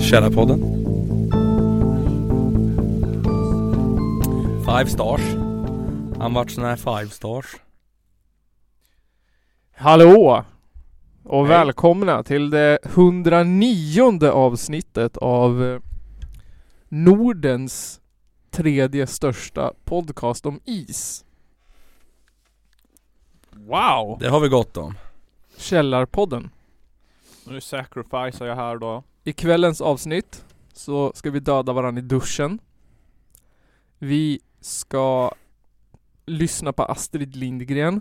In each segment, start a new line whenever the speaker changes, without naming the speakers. Källarpodden. Five stars. Han vart sån här five stars.
Hallå! Och
Hej.
välkomna till det 109 avsnittet av eh, Nordens tredje största podcast om is.
Wow!
Det har vi gott om.
Källarpodden.
Nu sacrificar jag här då.
I kvällens avsnitt så ska vi döda varandra i duschen. Vi ska lyssna på Astrid Lindgren.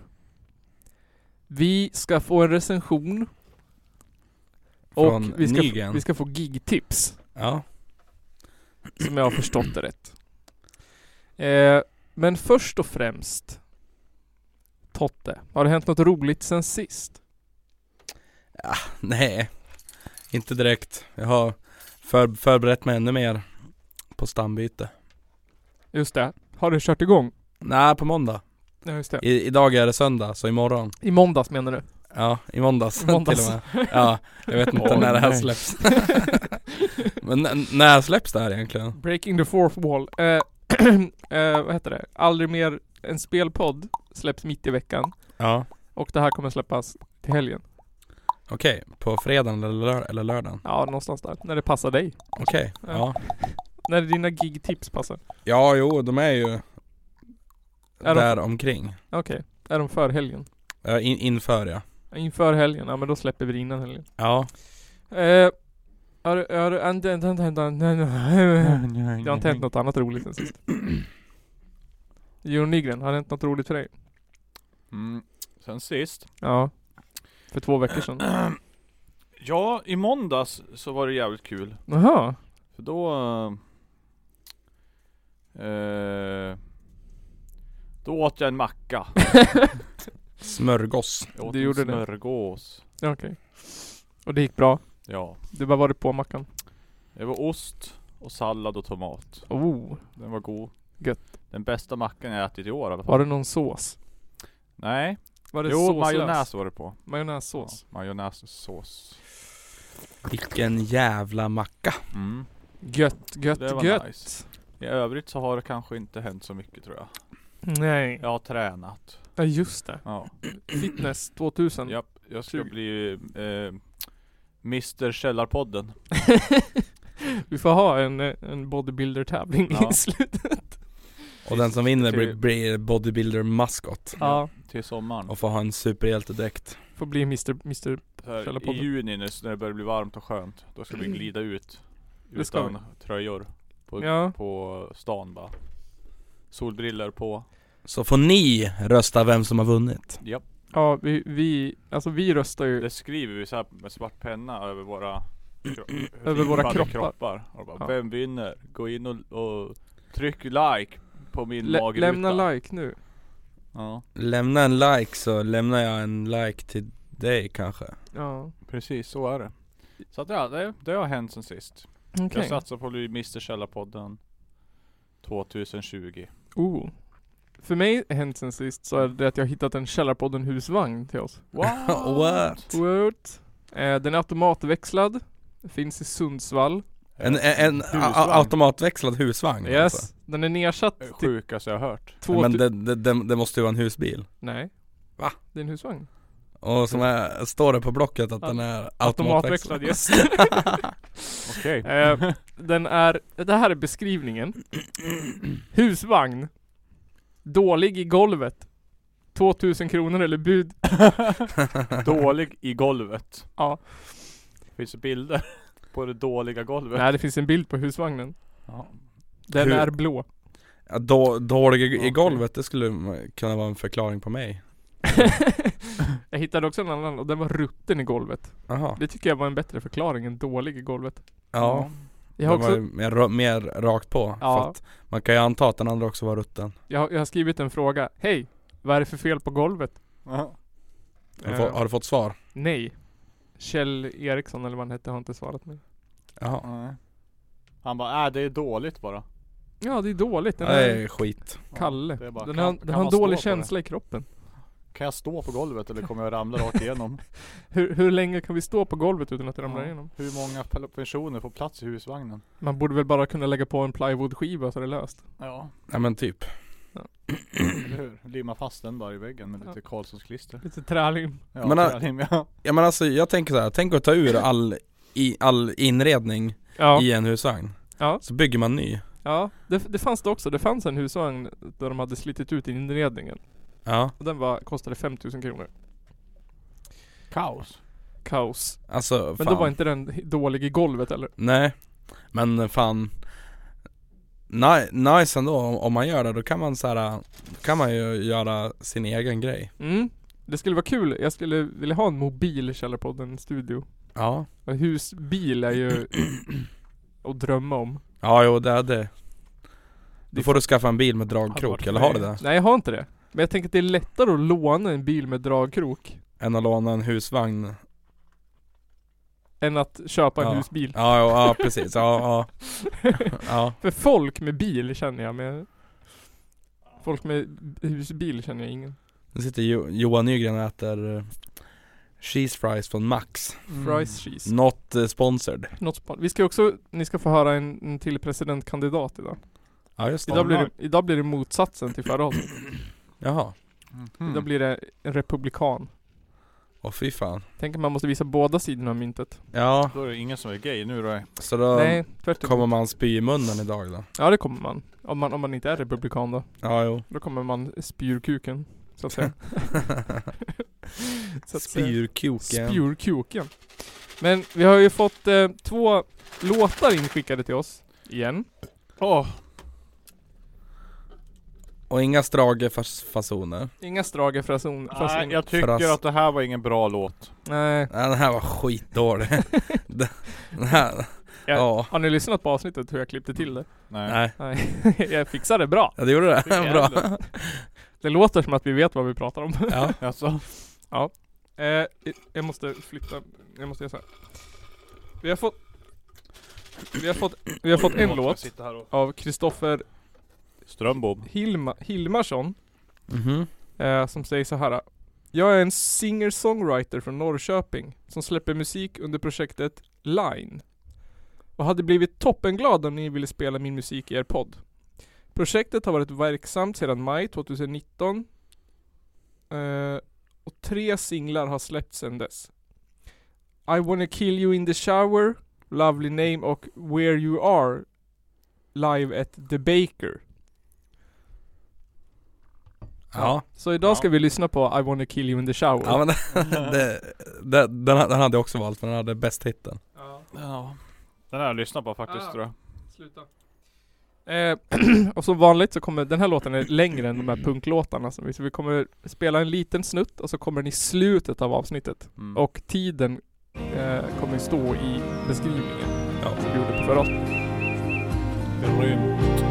Vi ska få en recension. Och
Från
vi ska,
Nygren.
vi ska få gigtips.
Ja.
Som jag har förstått det rätt. Eh, men först och främst Totte, har det hänt något roligt sen sist?
Nej. Inte direkt. Jag har för, förberett mig ännu mer på stambyte.
Just det, har du kört igång?
Nej, på måndag.
Ja, just det.
I, idag är det söndag, så imorgon.
I måndags menar du?
Ja, i måndags,
I måndags.
till och med. Ja, jag vet inte
Åh,
när det här
nej.
släpps. Men n- när släpps det här egentligen?
Breaking the fourth wall. Eh, eh, vad heter det? Aldrig mer en spelpodd släpps mitt i veckan.
Ja.
Och det här kommer släppas till helgen.
Okej, på fredagen eller, lör- eller lördagen?
Ja, någonstans där. När det passar dig.
Okej, ja.
När dina gigtips passar.
Ja, jo, de är ju
de-
där omkring.
Okej, är de för helgen?
Ja, in, inför ja.
Inför helgen? Ja men då släpper vi det innan helgen.
Ja.
Eh, har du- har du- inte- inte- inte- inte- inte- inte- Det har inte hänt något annat roligt sen sist. Jon Nygren, har det hänt något roligt för dig?
Mm. Sen sist.
Ja. För två veckor sedan.
Ja, i måndags så var det jävligt kul.
Jaha.
För då... eh, Eh, då åt jag en macka.
Smörgås.
Jag åt
Du
en
gjorde det.
smörgås.
Ja, Okej. Och det gick bra?
Ja.
Du bara var på mackan?
Det var ost och sallad och tomat.
Oh.
Den var god.
Gött.
Den bästa mackan jag ätit i år i alla fall.
Var det någon sås?
Nej.
Var det
Jo,
såslös?
majonnäs var det på. Ja,
Majonnässås.
majonnässås.
Vilken jävla macka.
Mm.
Gött,
Det
gött,
var
gött.
nice. I övrigt så har det kanske inte hänt så mycket tror jag.
Nej.
Jag har tränat.
Ja just det.
Ja.
Fitness 2000.
Japp, jag ska
Kul.
bli eh, Mr Källarpodden.
Vi får ha en, eh, en bodybuilder-tävling
Ja.
i slutet.
Och den som vinner blir,
till-
Typ.
blir bodybuilder-maskot.
Ja.
Till sommaren.
Och får ha en superhjältedräkt.
Får bli Mr. Mr.
Så här, I
Källarpodden. Mm.
juni nu så när det börjar bli varmt och skönt. Då ska vi glida ut.
Det ska
Utan tröjor. På,
Ja.
på stan bara. Solbriller på.
Så får ni rösta vem som har vunnit.
Japp.
Ja, vi, vi, alltså vi röstar ju.
Det skriver vi så här med svart penna över våra kro-
Över våra
rippade
kroppar.
Och bara,
Ja.
Vem vinner? Gå in och, och tryck like på min
Lä,
magruta.
lämna like nu.
Ja,
Lämna en like så lämnar jag en like till dig kanske.
Ja,
precis så är det. Så att ja, det, det har hänt sen sist.
okej.
Jag satsar på att bli Mr Källarpodden 2020.
Oh. För mig hänt sen sist så är det att jag har hittat en Källarpodden husvagn till oss.
What?
Woot. Eh, den är automatväxlad. Finns i Sundsvall.
En, en, en a-
Husvagn.
a- automatväxlad husvagn alltså.
Yes. Den är nedsatt
Det
till
Sjukaste jag har hört.
två...
Men det, det, det, det måste ju vara en husbil.
Nej.
Va?
Det är en husvagn.
Och som är, står det på blocket att
Ja.
den är automatväxlad.
Automatväxlad, yes.
Okej.
eh, den är... Det här är beskrivningen. Husvagn. Dålig i golvet. 2000 kronor eller bud.
Eh, Dålig i golvet.
Ja.
Finns det bilder på det dåliga golvet?
Nej, det finns en bild på husvagnen.
Ja.
Den
Hur-
är blå.
Ja, då, dålig i- i
Okej.
golvet, det skulle kunna vara en förklaring på mig.
jag hittade också en annan och den var rutten i golvet.
Jaha.
Det tycker jag var en bättre förklaring än dålig i golvet.
Ja,
Jag har,
det var
också,
ju mer, ra- mer rakt på.
Ja.
För att man kan ju anta att den andra också var rutten.
jag, har- jag har skrivit en fråga. Hej, vad är det för fel på golvet?
Ja.
Har, du
Eh,
fått- har du fått svar?
Nej. Kjell Eriksson eller vad han hette har inte svarat mig.
Jaha.
Nej. Han bara, äh det är dåligt bara.
Ja, det är dåligt. Den
Nej,
är
skit.
Ja,
Kalle.
det är bara,
den
kan-
har,
kan
den har en
man stå
dålig
på
känsla i kroppen.
det? Kan jag stå på golvet eller kommer jag ramla rakt igenom?
Hur, hur länge kan vi stå på golvet utan att det ramlar
Ja.
igenom?
Hur många pel- personer får plats i husvagnen?
Man borde väl bara kunna lägga på en plywoodskiva så är det löst.
Ja,
Ja men typ.
eller hur? Limma fast den bara i väggen med lite Karlssons klister.
Lite trälim.
Ja,
Men, äh,
trälim, ja.
Ja men alltså jag tänker så här. tänk att ta ur all, i, all inredning
Ja.
i en husvagn.
Ja.
Så bygger man ny.
Ja, det, det fanns det också. Det fanns en husvagn där de hade slitit ut inredningen.
Ja.
Och den var, kostade 5000 kronor.
Kaos.
Kaos.
Alltså
Men
fan.
då var inte den dålig i golvet eller?
Nej. Men fan. Ni, nice ändå om, om man gör det. Då kan man så här. Då kan man ju göra sin egen grej.
Mm. Det skulle vara kul. Jag skulle vilja ha en mobil Källarpodden-studio.
Ja.
En husbil är ju att drömma om.
Ja jo det hade. Då
Det-
får du skaffa en bil med
Hade varit
dragkrok. Eller har du det?
Nej, jag har inte det. Men jag tänker att det är lättare att låna en bil med dragkrok
Än att låna en husvagn.
än att köpa en
Ja.
husbil.
Ja, jo, ja precis. Ja, ja. ja.
För folk med bil känner jag, men folk med husbil känner jag ingen.
Nu sitter jo- Johan Nygren och äter eh, cheese fries från Max.
Mm.
Fries cheese.
Not eh, sponsored.
Något span- Vi ska också, ni ska få höra en, en till presidentkandidat idag.
Ja just
Idag blir, det, idag blir det motsatsen till förra avsnittet.
Jaha.
Mhm.
Mm.
Idag blir det en republikan.
Åh fy fan.
Tänk att man måste visa båda sidorna av myntet.
Ja,
Då är det ingen som är gay nu då.
så då
Nej, tvärtom.
kommer man spy i munnen idag då.
Ja det kommer man. Om man, om man inte är republikan då.
Ja jo.
Då kommer man spjurkuken. Så att säga. Så att säga.
Spjurkuken.
Spjurkuken. Men vi har ju fått eh, två låtar inskickade till oss. Igen.
Åh,
Och inga stragefasoner.
Inga Strage-fasoner.
nej, jag tycker
Fras-
att det här var ingen bra låt.
Nej.
Nej den här var skitdålig. Den- den här,
Jag,
ja.
Har ni lyssnat på avsnittet hur jag klippte till det?
Nej.
Nej.
Nej, jag fixar det bra.
Ja det gjorde det.
Tycker jag
Bra.
heller.
Det låter som att vi vet vad vi pratar om.
Ja.
Alltså,
eh, jag måste flytta, jag måste göra så här. Vi har fått Vi har fått, vi har fått en
Förlåt, jag
låt
sitter här och-
av Kristoffer
Strömbom.
Hilma, Hilmarsson
Mhm.
eh, som säger så här. Jag är en singer-songwriter från Norrköping som släpper musik under projektet Line. Och hade blivit toppenglad om ni ville spela min musik i er podd. Projektet har varit verksamt sedan maj 2019 eh, och tre singlar har släppts sedan dess. I wanna kill you in the shower, Lovely name och Where you are live at the Baker.
Ja.
Så idag
Ja.
ska vi lyssna på I wanna kill you in the shower.
Ja men det, det, den, den hade jag också valt men den hade bäst hitten.
Ja,
Ja. Den här jag lyssnar på faktiskt
Ah.
tror jag.
sluta. Eh, och som vanligt så kommer den här låten är längre än de här punklåtarna som vi, så vi kommer spela en liten snutt och så kommer den i slutet av avsnittet.
Mm.
Och tiden eh, kommer stå i beskrivningen.
Ja.
Som vi gjorde på förra avsnittet.
Grymt.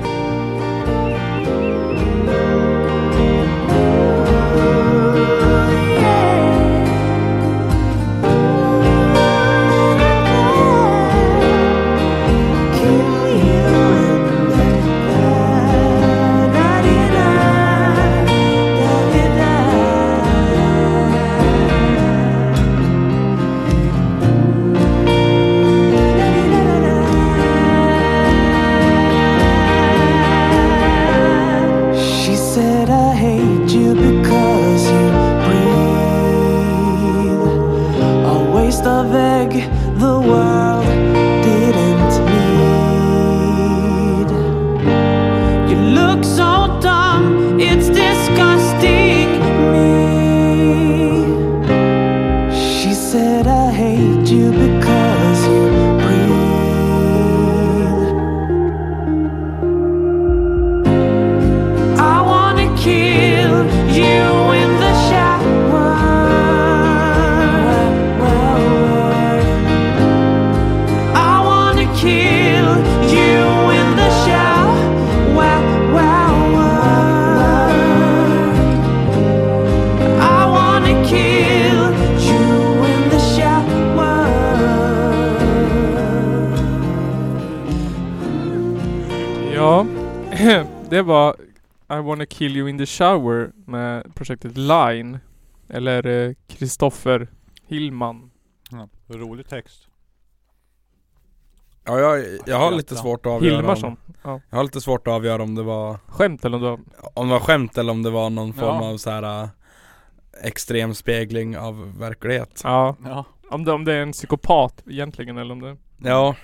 She said, I hate you because you breathe a waste of egg the world didn't need. You look so dumb, it's disgusting me. She said, I hate you because you breathe. I wanna kill you in the shower. I wanna kill you in the shower. I wanna kill you in the shower.
Ja, det var I wanna kill you in the shower med projektet Line. Eller Kristoffer Hillman.
Ja. Rolig text.
Ja, jag, jag har lite
Jävlar.
svårt att avgöra om,
Hilmarsson. Ja.
Jag har lite svårt att avgöra om det var
Skämt eller vad?
Om det var skämt eller om det var någon form
Ja.
av så här äh, Extrem spegling av verklighet
Ja.
Ja.
Om det, om det är en psykopat egentligen eller om det är
Ja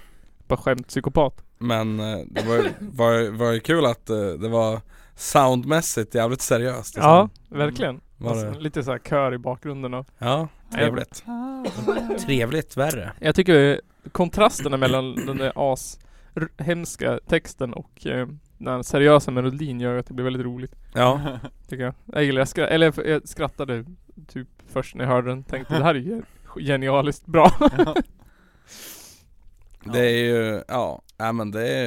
bara skämt psykopat.
Men eh, det var ju, var, ju- var ju kul att eh, det var soundmässigt jävligt seriöst. och
Ja,
sen
verkligen.
Var
Alltså,
Mm. det,
lite så här kör i bakgrunden och.
ja, trevligt. Trevligt värre.
Jag tycker kontrasterna mellan den där as r- hemska texten och eh, den seriösa melodin gör att det blir väldigt roligt.
Ja,
Tycker jag. Jag gillar, jag skra- eller jag skrattade typ först när jag hörde den. Tänkte det här är ju genialiskt bra.
det är ju, ja, nej men det är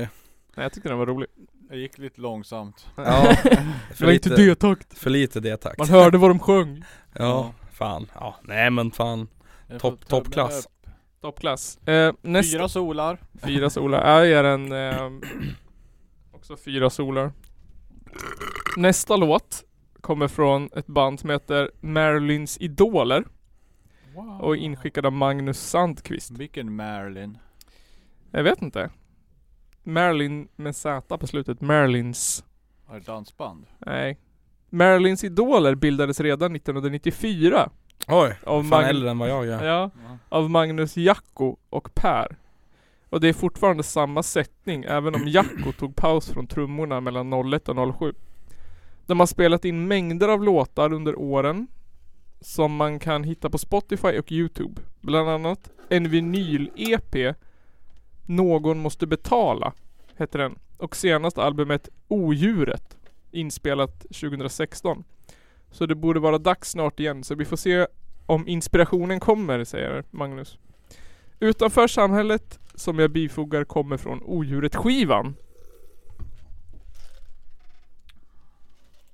Nej, jag tyckte den var rolig.
Det gick lite långsamt.
ja,
det
för,
var inte
lite,
D-takt.
för lite det tack.
Man hörde vad de sjöng.
Ja, fan. Ja, nej men fan.
Jag
Topp-
får tummen
toppklass.
upp.
Toppklass. Eh, nästa.
Fyra solar.
Fyra solar. Ja, jag ger den ehm, också fyra solar. Nästa låt kommer från ett band som heter Marilyns Idoler
Wow.
och är inskickad av Magnus Sandqvist.
Vilken Marilyn.
Jag vet inte. Marilyn med Z på slutet. Marilyns.
Var det dansband?
Nej. Marilyns Idoler bildades redan 1994
Oj,
av,
fan
Mag-
äldre än vad jag är.
ja,
Ja.
av Magnus Jacko och Per. Och det är fortfarande samma sättning även om Jacko tog paus från trummorna mellan 01 och 07. De har spelat in mängder av låtar under åren som man kan hitta på Spotify och Youtube. Bland annat en vinyl-EP Någon måste betala heter den. Och senast albumet Odjuret inspelat 2016. Så det borde vara dags snart igen så vi får se om inspirationen kommer, säger Magnus. Utanför samhället som jag bifogar kommer från Odjuret-skivan.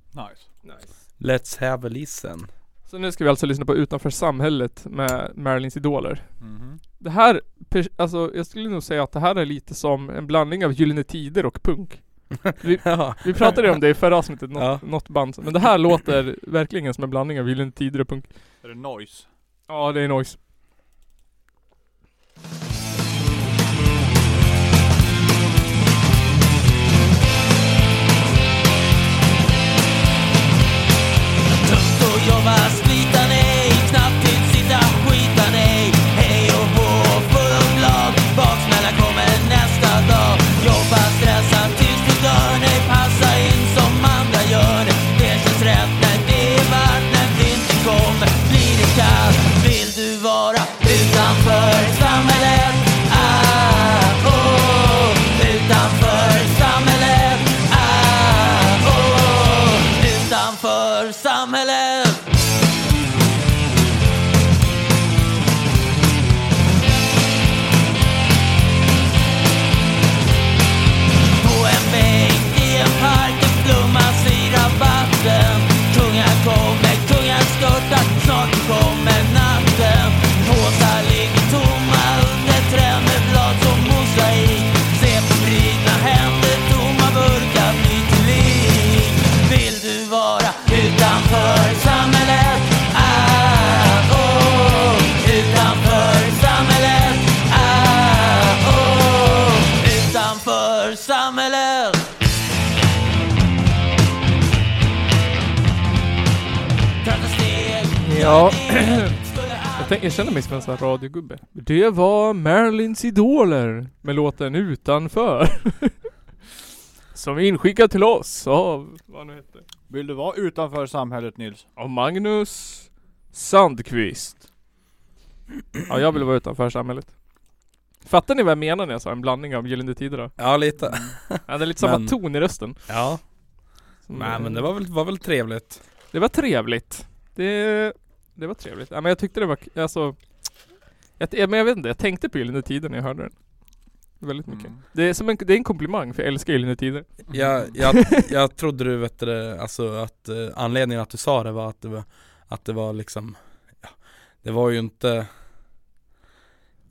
Nice.
Let's have a listen.
Så nu ska vi alltså lyssna på Utanför samhället med Marilyns idoler.
Mhm.
Det här, pers- alltså jag skulle nog säga att det här är lite som en blandning av Gyllene Tider och punk.
Ja,
Vi pratade ju om det i förra avsnittet, något,
Ja.
något band. som- Men det här låter verkligen som en blandning av Gyllene Tider och punk.
Är det noise?
Ja, det är noise.
Tungt att jobba, slita nej, knappt tid sitta, skita nej. Hej och hå, full av glad, baksmällan kommer nästa dag. Jobba, stressa tills du dör, nej passa in som andra gör. Det känns rätt när det är varmt, när vintern kommer blir det kallt. Vill du vara utanför samhället? Ah, oh. Utanför samhället, ah, oh. Utanför samhället På en bänk i en park en blomma i rabatten Kungar kommer, kungar störtar, snart kommer natten Påsar ligger tomma under träd med blad som mosaik Se på brutna händer, tomma burkar blir till lik Vill du vara utanför samhället? Ah, oh, utanför samhället Ah, oh, utanför samhället Trattar steg,
Ja.
skulle
Jag, tänk, jag känner mig som en sån här radiogubbe. Det var Marilyns idoler med låten Utanför. som är inskickad till oss av, vad nu heter,
Vill du vara utanför samhället Nils?
av Magnus Sandqvist. Ja, jag vill vara utanför samhället. Fattar ni vad jag menar när jag sa en blandning av Gyllene Tider då?
ja lite.
Mm. Ja, det är lite samma
Men-
ton i rösten.
Ja,
Som-
nej men det var väl, var väl trevligt.
Det var trevligt. Det, det var trevligt. Ja, men jag tyckte det var, k- alltså. Jag, t- men jag vet inte, jag tänkte på Gyllene Tider när jag hörde den. Väldigt mycket.
Mm.
Det, är som en, det är en komplimang för jag älskar Gyllene Tider.
Jag, jag, jag trodde du vet det, alltså att eh, anledningen att du sa det var att det var, att det var liksom ja, Det var ju inte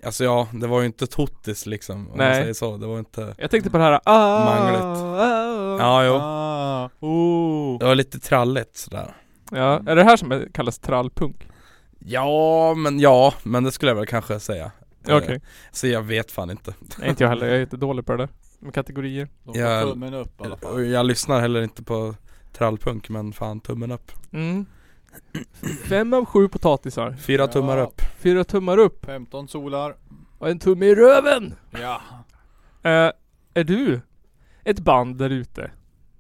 Alltså ja, det var ju inte Tottis liksom om man
Nej.
säger så, det var inte
Jag tänkte på det här ah,
Mangligt.
ah,
Ja jo,
Ah,
oh.
det var lite tralligt sådär
Ja, är det här som är- kallas trallpunk?
Ja, men ja, men det skulle jag väl kanske säga.
Okej,
Eh, Så jag vet fan inte.
nej inte jag heller, jag är jättedålig på det där med kategorier
De
Ja.
får tummen upp i alla fall.
Och Jag lyssnar heller inte på trallpunk men fan tummen upp.
mm. Fem av sju potatisar,
Fyra tummar
Ja.
upp.
fyra tummar upp
15 solar.
och en tumme i röven!
Ja.
Eh, är du ett band där ute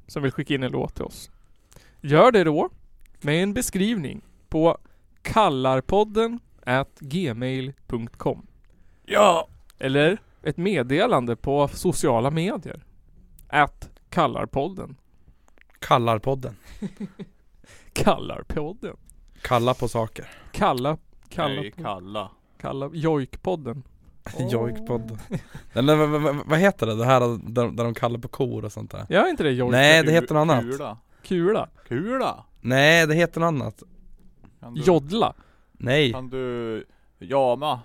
som vill skicka in en låt till oss? Gör det då med en beskrivning på kallarpodden at gmail.com
Ja!
Eller ett meddelande på sociala medier. Att kallarpodden.
Kallarpodden.
Kallarpodden.
Kalla på saker.
Kalla, kalla,
Nej, kalla.
kalla, jojkpodden.
Jojkpodden. Den där- vad- vad- Vad heter det? Det här där, där de kallar på kor och sånt där.
Ja, är inte det jojk?
Nej det
Ku-
heter något annat.
Kula.
Kula.
Kula!
Nej det heter något annat.
Kan du,
Joddla.
Nej.
kan du jama?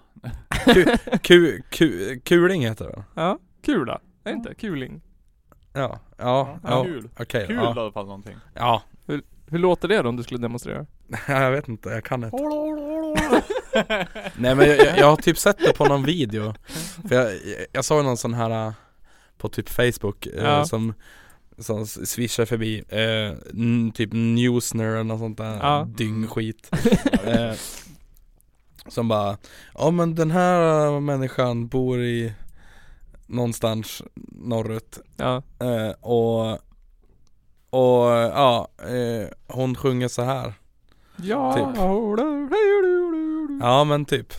Ku, ku, kuling heter det väl?
Ja, kula. Är inte kuling.
Ja. Ja. ja.
Kul.
Okej.
Kul i
ja.
alla fall någonting.
ja.
Hur låter det då om du skulle demonstrera?
Jag vet inte, jag kan inte. Nej men jag, jag, jag har typ sett det på någon video För jag, jag, jag såg någon sån här äh, på typ Facebook eh,
Ja.
som, som s- swishar förbi, eh, n- typ Newsner eller något sånt där
Ja.
dyngskit
Ja,
eh, Som bara, ja men den här äh, människan bor i någonstans norrut
Ja.
eh, och, och ja, eh, hon sjunger så här
Ja.
Typ.
Ja.
Ja men typ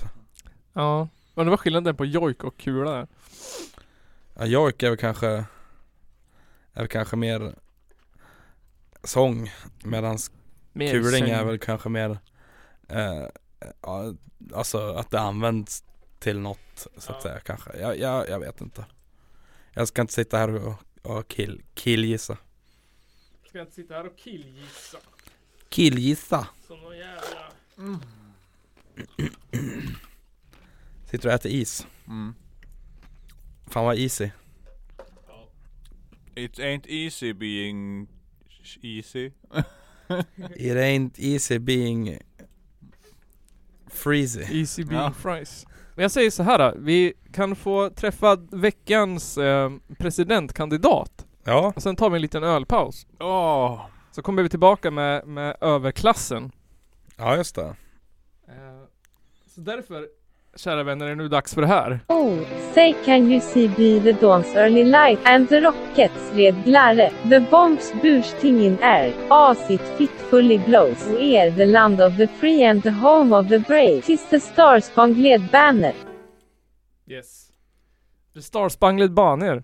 ja. Men det var skillnaden på jojk och kula där.
Ja, York är väl kanske Är väl kanske mer Sång Medan
Mer
kuling är
säng.
väl kanske mer eh, ja, Alltså att det används Till något så att säga kanske jag, jag, jag vet inte Jag ska inte sitta här och, och kill, killgissa
Ska inte sitta här och killgissa
Killgissa
som någon jävla...
Sitter och äter is
Mm.
Fan vad easy
It ain't easy being sh- easy.
It ain't easy being Freezy
Easy bean
Ja.
fries. Men jag säger så här då, vi kan få träffa veckans eh, presidentkandidat.
Ja
Och sen tar vi en liten ölpaus.
Åh!
Så kommer vi tillbaka med, med överklassen.
Ja just det
Eh, så därför, kära vänner, är det nu dags för det här.
Oh, say can you see be the dawn's early light and the rockets red glare, the bombs bursting in air, as it fitfully glows. We are the land of the free and the home of the brave, tis the star-spangled banner.
Yes. The Star Spangled Banner.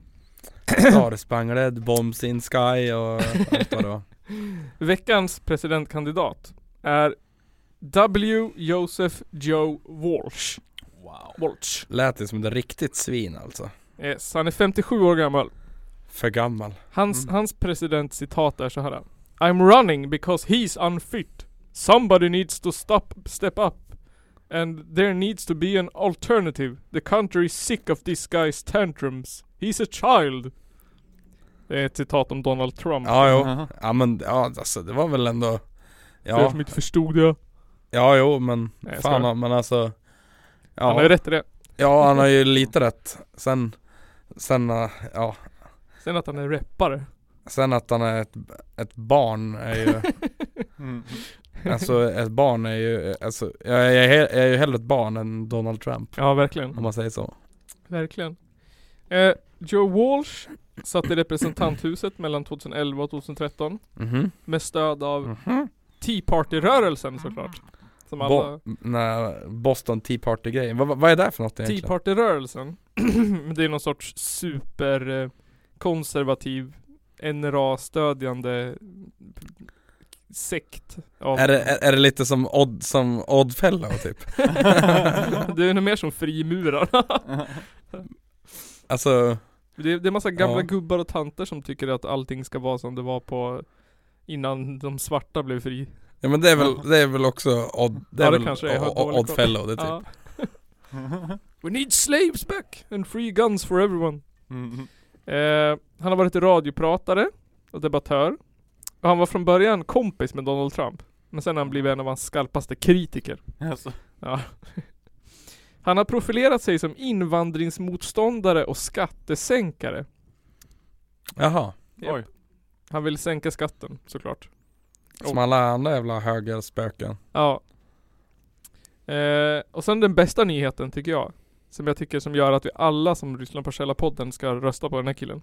Starspangled, Bombs in Sky och allt vad det var
Veckans presidentkandidat är W. Joseph Joe Walsh.
Wow.
Walsh.
Lät det som ett riktigt svin alltså.
Yes, han är 57 år gammal.
För gammal.
Hans,
Mm.
hans presidentcitat är så här. I'm running because he's unfit. Somebody needs to stop, step up. And there needs to be an alternative. The country is sick of this guy's tantrums. He's a child. Det är ett citat om Donald Trump.
Ja, jo.
Jaha.
Ja, men ja, alltså det var väl ändå...
För er
Ja,
som inte förstod det.
ja jo, men
Nej, jag skojar.
fan men alltså... Ja,
Han har ju rätt i det.
ja, han har ju lite rätt. Sen, sen, äh, ja.
Sen att han är rappare.
Sen att han är ett, ett barn är ju,
Mm.
alltså ett barn är ju, alltså jag jag är, he- jag är ju hellre ett barn än Donald Trump.
Ja, verkligen.
Om man säger så.
Verkligen. Eh, Joe Walsh satt i representanthuset mellan 2011 och 2013
Mhm.
med stöd av Tea Party-rörelsen såklart. Som alla...
Bo- nej, Boston Tea Party-grejen. Vad- vad- vad är det för något
Tea
egentligen?
Party-rörelsen, men det är någon sorts super eh, konservativ NRA-stödjande sekt av...
Är det, är, är det lite som Odd, som Oddfellow typ?
det är nog mer som frimurarna.
Alltså,
Det är, det är massa gamla
Ja.
gubbar och tanter som tycker att allting ska vara som det var på Innan de svarta blev fri.
ja men det är väl, det är väl också Odd, det är
Ja, det
väl
kanske är. Jag har
o- o-
dålig koll.
Oddfellow det typ
Ja. We need slaves back and free guns for everyone.
Mm.
Eh, han har varit radiopratare och debattör. Och han var från början kompis med Donald Trump. Men sen har han blivit en av hans skarpaste kritiker.
Alltså,
Han har profilerat sig som invandringsmotståndare och skattesänkare.
Jaha,
Japp.
Oj.
Han vill sänka skatten såklart.
som alla andra jävla högerspöken
Ja. Eh, och sen den bästa nyheten tycker jag. Som jag tycker som gör att vi alla som lyssnar på Källarpodden ska rösta på den här killen.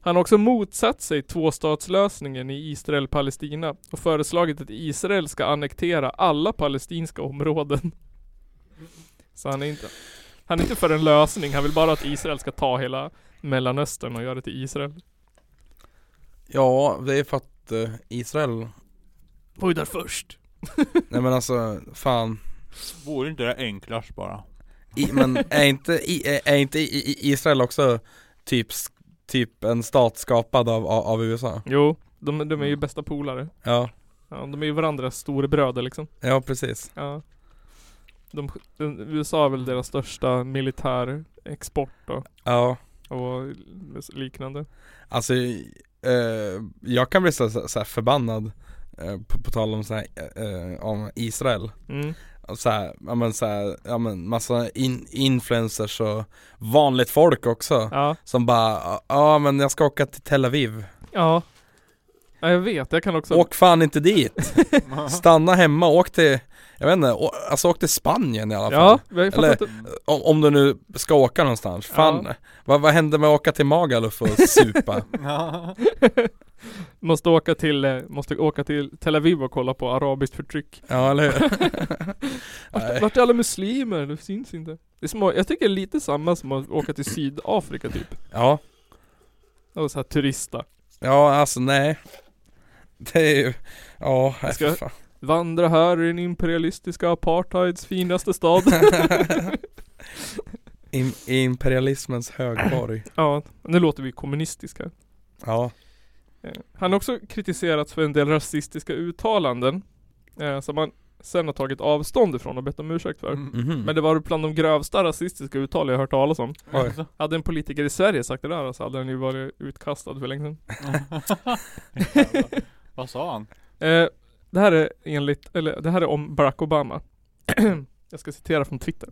Han har också motsatt sig tvåstatslösningen i Israel-Palestina och föreslagit att Israel ska annektera alla palestinska områden. Så han är inte, han är inte för en lösning, han vill bara att Israel ska ta hela Mellanöstern och göra det till Israel.
Ja, det är för att eh, Israel
Var ju där först.
Nej men alltså, fan
vore inte det enklast bara?
I, Men är inte, i, är inte i, i Israel också typ, s- typ en stat skapad av, av, av USA?
Jo, de, de är ju bästa polare.
Ja,
Ja, de är ju varandras storebröder liksom.
ja precis
Ja. De, de, USA är väl deras största militärexport då,
Ja,
och liknande.
alltså eh, jag kan bli så, så, så här förbannad eh, på, på tal om så här, eh, om Israel
Mm.
så här, ja men så här, ja men massa in, influencers och vanligt folk också
Ja,
Som bara, ja men jag ska åka till Tel Aviv
ja. Ja, jag vet, jag kan också...
Åk fan inte dit! Stanna hemma, åk till, jag vet inte, å, alltså åk till Spanien i alla fall
ja, jag fattar
Eller-
inte.
om, om du nu ska åka någonstans, fan vad, vad händer med att åka till Magaluf och supa?
Måste åka till, eh, måste åka till Tel Aviv och kolla på arabiskt förtryck.
ja eller hur?
Vart,
Nej.
vart är alla muslimer? Det syns inte. Det är små, jag tycker det är lite samma som att åka till Sydafrika typ.
Ja,
Och så här turista.
ja alltså nej Det är ju, ja, nej,
Ska-
för fan.
Vandra här i den imperialistiska apartheids finaste stad.
Im- imperialismens högborg
ja, nu låter vi kommunistiska.
Ja,
Eh, Han har också kritiserats för en del rasistiska uttalanden eh, som han sen har tagit avstånd ifrån och bett om ursäkt
Mm.
för.
mhm,
Men det var bland de grövsta rasistiska uttal jag hört talas om.
oj
Hade en politiker i Sverige sagt det där så hade han ju varit utkastad för länge sedan.
Jävlar. Vad sa han?
Eh, det här är enligt, eller det här är om Barack Obama. jag ska citera från Twitter.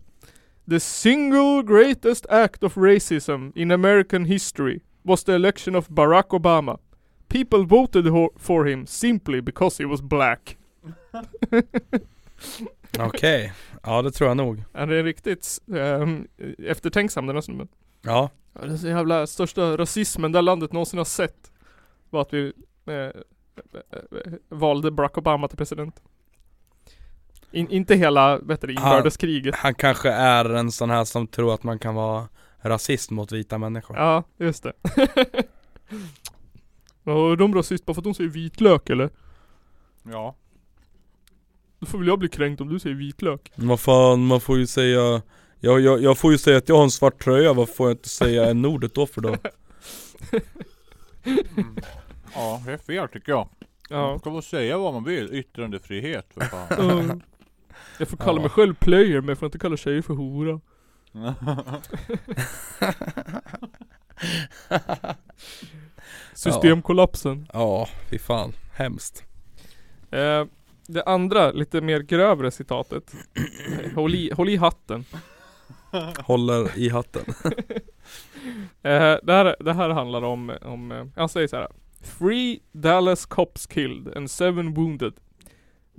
The single greatest act of racism in American history was the election of Barack Obama. People voted ho- for him simply because he was black.
Okej, ja det tror jag nog
Han är riktigt ehm, eftertänksam den här snubben.
Ja,
Ja, den så jävla största rasismen det här landet någonsin har sett var att vi eh, eh, eh, valde Barack Obama till president. In, inte hela, vet du, inbördeskriget.
han kanske är en sån här som tror att man kan vara rasist mot vita människor
Ja, just det. Ja, är de rasist bara för att de säger vitlök eller?
Ja.
Då får väl jag bli kränkt om du säger vitlök.
Vad fan, man får ju säga jag, jag, jag får ju säga att jag har en svart tröja, vad får jag inte säga en ordet då för då?
Mm. Ja, det är fel tycker jag. Man
Ja.
ska få säga vad man vill. Yttrandefrihet för fan.
Mm. Jag får kalla
Ja.
mig själv player men jag får inte kalla tjejer för hora. Systemkollapsen.
Ja, fy fan, hemskt
Eh, det andra, lite mer grövre citatet. Håll i, håll i hatten.
Håller i hatten
Eh, det, här, det här handlar om, om eh, han säger så här. Three Dallas cops killed and seven wounded.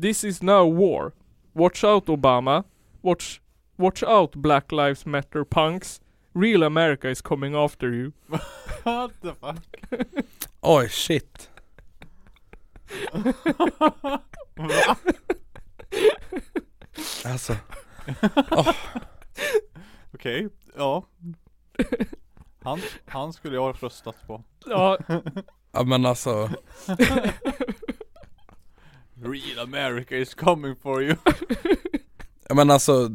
This is now war. Watch out Obama. Watch, watch out Black Lives Matter punks. Real America is coming after you.
What the fuck?
Oj shit Alltså,
Okej, ja. Han, han skulle jag ha röstat på.
Ja,
ja men alltså
Real America is coming for you.
Ja men alltså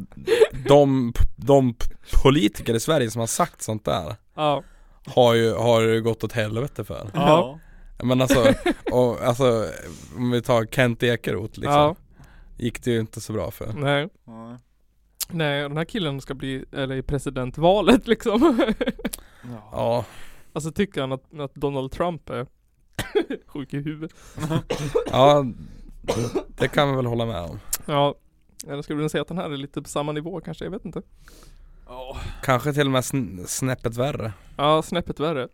de, de politiker i Sverige som har sagt sånt där
ja,
Har ju, har ju gått åt helvete för
Ja.
Ja, Men alltså, och, alltså om vi tar Kent Ekeroth liksom
ja,
Gick det ju inte så bra för
nej.
Ja.
Nej, den här killen ska bli, eller i presidentvalet liksom.
Ja.
Ja,
Alltså tycker han att, att Donald Trump är sjuk i huvudet?
ja Det kan vi väl hålla med om.
Ja, eller skulle du säga att den här är lite på samma nivå kanske? Jag vet inte.
Ja.
Kanske till och med sn- snäppet värre.
Ja, snäppet värre.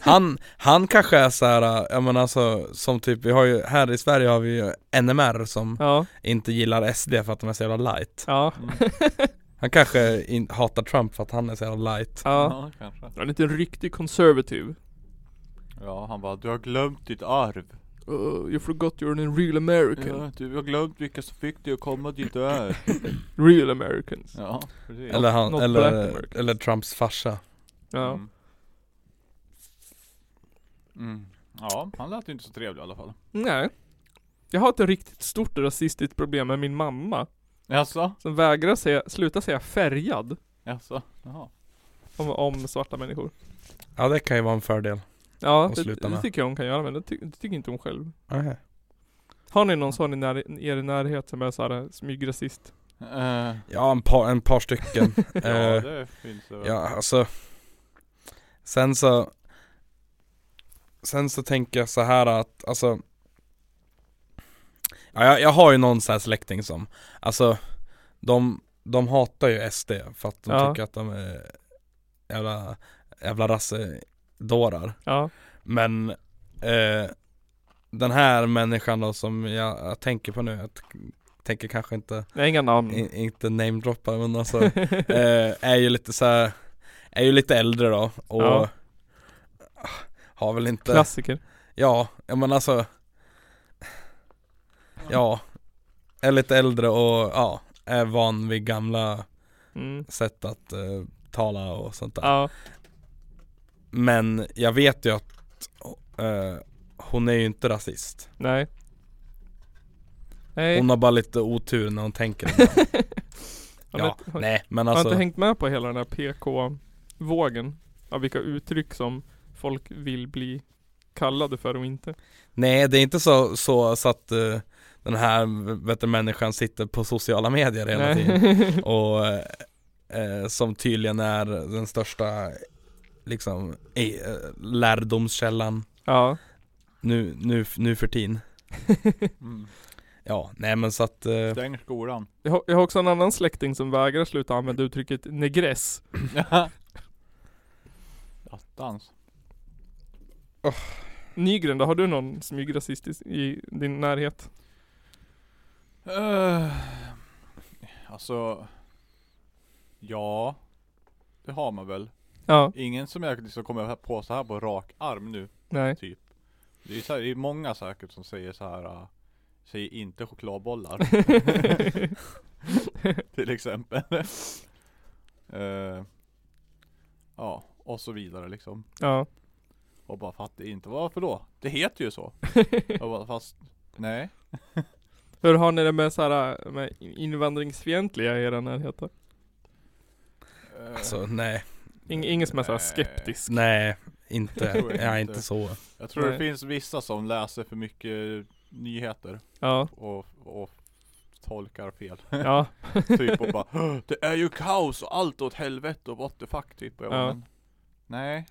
Han, han kanske är så här, jag menar alltså som typ, vi har ju, här i Sverige har vi ju NMR som
Ja,
inte gillar SD för att de är så jävla light.
ja,
Han kanske in, hatar Trump för att han är så jävla light.
ja.
Ja, kanske.
Han är inte en riktig conservative.
Ja, han bara, du har glömt ditt arv.
Uh, you forgot you're an real American.
Ja, du har glömt vilka som fick dig att komma dit du är.
Real Americans.
Ja, precis.
Eller, han,
Not black
eller,
Americans.
eller Trumps farsa.
Ja.
Mm. Mm. Ja, han lät ju inte så trevlig i alla fall.
Nej. Jag har ett riktigt stort rasistiskt problem med min mamma.
Jaså?
Som vägrar säga, sluta säga färgad
Jaså? Jaha.
om, om svarta människor.
Ja det kan ju vara en fördel.
Ja,
Och
det,
sluta
det
med.
tycker jag hon kan göra men det, ty, det tycker inte hon själv. Har ni någon sån i när, i er närhet som är såhär smygrasist?
Eh,
Ja en par, en par stycken.
ja,
Eh,
det finns det väl.
Ja, alltså Sen så Sen så tänker jag så här att, alltså ja, jag, jag har ju någon så här släkting som, alltså de, de hatar ju SD för att de
Ja.
tycker att de är jävla, jävla rassedårar
Ja.
Men eh, den här människan då som jag, jag tänker på nu, jag t- tänker kanske inte,
Nej, inga namn.
i, inte namedroppa men alltså eh, är ju lite så här, är ju lite äldre då och
Ja.
har väl inte,
Klassiker.
ja, ja men alltså Ja, är lite äldre och ja, är van vid gamla
Mm.
sätt att eh, tala och sånt där
Ja.
Men jag vet ju att eh, hon är ju inte rasist
Nej. Nej.
Hon har bara lite otur när hon tänker ibland.
Har ni
Ja,
inte- har-
nej men
Har
alltså
inte hängt med på hela den här PK-vågen? Av vilka uttryck som folk vill bli kallade för och inte.
Nej det är inte så, så, så att eh, den här vet du, människan sitter på sociala medier hela tiden
Nej.
och eh, eh, som tydligen är den största liksom eh, lärdomskällan
ja.
nu, nu, nu för tiden.
Mm.
Ja, nej men så att eh,
Stäng skolan.
Jag har, jag har också en annan släkting som vägrar sluta använda uttrycket negress.
Attans.
Nygren då, har du någon smygrasist i, i din närhet?
Uh, alltså, ja, det har man väl.
Ja,
Ingen som jag liksom kommer på så här på rak arm nu.
nej.
typ. Det är, så här, det är många säkert som säger så här. Uh, säger inte chokladbollar till exempel. Eh, ja, och så vidare liksom.
ja.
Och bara fattar inte varför då? Det heter ju så. Jag bara fast, nej.
Hur har ni det med, så här, äh, med invandringsfientliga i era närhet då?
Eh,
alltså nej,
Ing, ingen som är så här
Nej.
skeptisk?
nej
Jag
inte,
tror inte.
nej inte så.
Jag tror
Nej.
det finns vissa som läser för mycket nyheter
Ja,
och, och tolkar fel.
ja.
typ och bara "Åh, Det är ju kaos och allt åt helvete och what the fuck typ. Och jag bara,
Ja.
"Men, Nej.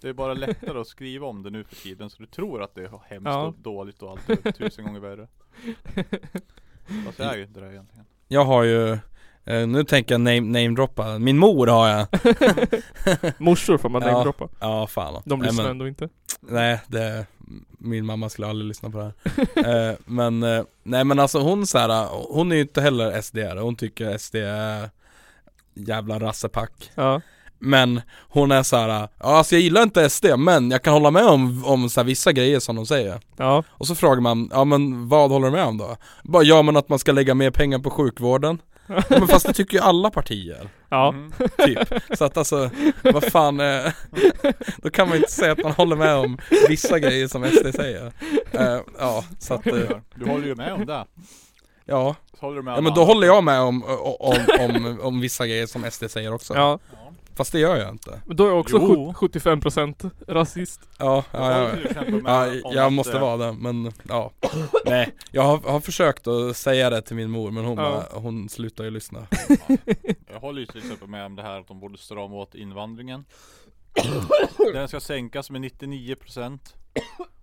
Det är bara lättare att skriva om det nu för tiden så du tror att det är hemskt
Ja.
och dåligt och allt är tusen gånger värre. Fast det är ju inte det egentligen.
Jag har ju, eh, nu tänker jag name- namedroppa, min mor har jag.
Morsor får man
Ja.
namedroppa.
Ja fan.
De
nej,
lyssnar
men,
ändå inte.
nej det, min mamma skulle aldrig lyssna på det här. Eh, men, eh, nej men alltså hon så här, hon är ju inte heller SD hon tycker SD är jävla rassepack
ja.
Men hon är så här, ja alltså jag gillar inte SD men jag kan hålla med om, om så här, vissa grejer som de säger
Ja.
Och så frågar man, ja men vad håller du med om då? Bara, ja men att man ska lägga mer pengar på sjukvården ja, Men fast det tycker ju alla partier,
Ja.
Mm.
typ Så att alltså, vad fan eh, Då kan man ju inte säga att man håller med om vissa grejer som SD säger Eh, Ja, så att, eh,
Du håller ju med om det.
ja
Så håller du med
Ja
alla
men då
andra.
håller jag med om, om, om, om vissa grejer som SD säger också
ja.
Ja.
Fast det gör jag inte
Men då är jag också
Jo.
sjut- 75% rasist.
Ja, ja,
Jag
ja,
håller till exempel med
ja
om
jag
att,
måste
eh,
vara det men ja Nej, jag har, har försökt att säga det till min mor men hon,
Ja.
bara, hon slutar ju lyssna
Jag håller ju till exempel med om det här att de borde strama åt invandringen Den ska sänkas med 99%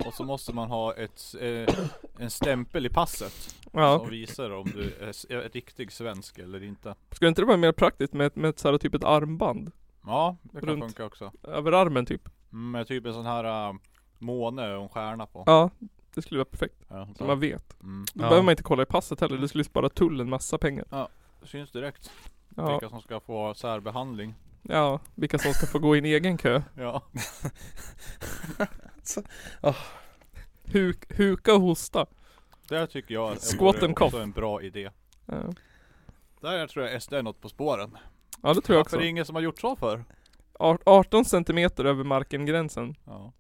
Och så måste man ha ett, eh, en stämpel i passet
Ja.
Som visar om du är s- är riktig svensk eller inte
Skulle inte det vara mer praktiskt med, ett- med ett, så här, typ ett armband?
Ja, det kan
Runt.
funka också
Över armen typ?
Mm, Med typ en sån här äh, måne och en stjärna på
Ja, det skulle vara perfekt.
ja,
Så
så.
man vet.
Mm.
Då
Ja.
behöver man inte kolla i passet heller, det skulle spara tullen massa pengar.
Syns direkt
Ja,
vilka som ska få särbehandling
ja, vilka som ska få gå i en egen kö.
Ja,
Huk, huka och hosta.
där tycker jag att det
Squat
vore
and cough.
också en bra idé
Ja,
Där tror jag SD är något på spåren
Ja, det tror jag
Varför
också.
är det ingen som har gjort så för?
Ar- 18 centimeter över markengränsen.
Ja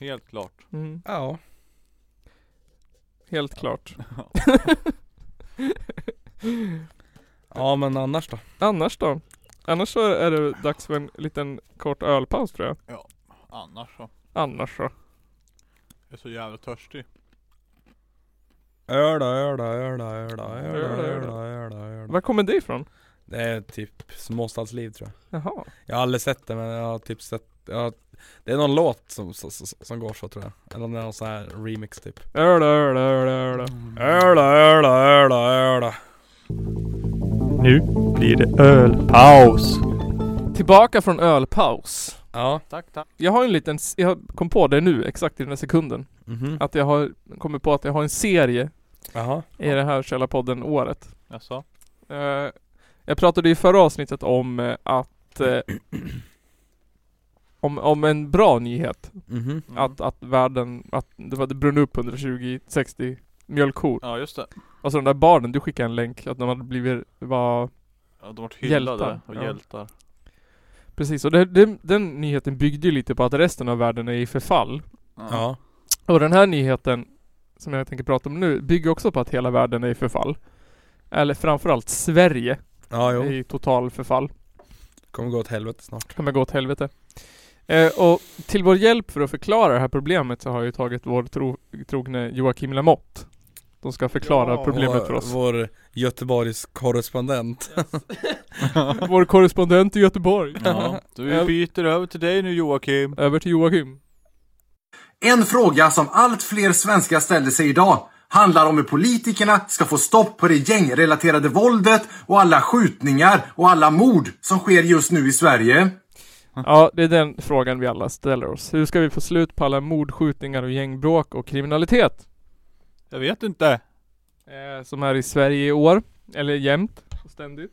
Helt klart
Mm,
Ja,
helt klart.
ja men annars då?
Annars då? Annars så är det dags för en liten kort ölpaus tror jag.
Annars så
Annars så.
Jag är så jävla törstig
Öla, öla, öla, öla, öla,
Öla, öla.
öla, öla, öla.
Var kommer det ifrån?
Det är typ småstadsliv tror jag
Jaha.
Jag har aldrig sett det men jag har typ sett jag har, Det är någon låt som, som, som- som går så tror jag Eller om det är någon sån här remix typ
Öl, öl, öl, öl.
Mm. Öla, öla, öla, öla
Nu blir det ölpaus.
Tillbaka från ölpaus.
Ja,
Tack tack
Jag har en liten, s- jag kom på det nu exakt i den här sekunden.
mhm,
Att jag har kommit på att jag har en serie
jaha
i det här Källarpodden året.
Jaså?
Eh, jag pratade i förra avsnittet om eh, att eh, om, om en bra nyhet.
mhm
Mm.
Att, att världen, att det, var, det brann upp 120-60 mjölkkor.
Ja just det
Och så de där barnen, du skickade en länk att de hade blivit, var
ja, De har varit
Hjältar,
hyllade och
ja.
hjältar
Precis, och det, det, den nyheten byggde ju lite på att resten av världen är i förfall.
Ja,
Och den här nyheten som jag tänker prata om nu bygger också på att hela världen är i förfall. Eller framförallt Sverige
ja
är
jo,
i total förfall.
kommer gå åt helvete snart
kommer gå åt helvete. Eh, och till vår hjälp för att förklara det här problemet så har jag ju tagit vår tro, trogne Joakim Lamotte. De ska förklara
Ja,
problemet
vår,
för oss.
Vår Göteborgs korrespondent
Vår korrespondent i Göteborg.
Ja,
Ja.
du byter över till dig nu Joakim.
Över till Joakim.
En fråga som allt fler svenskar ställer sig idag handlar om hur politikerna ska få stopp på det gängrelaterade våldet och alla skjutningar och alla mord som sker just nu i Sverige.
Ja, det är den frågan vi alla ställer oss. Hur ska vi få slut på alla mord, skjutningar och gängbråk och kriminalitet?
Jag vet inte.
Eh, som är i Sverige i år. Eller jämt och ständigt.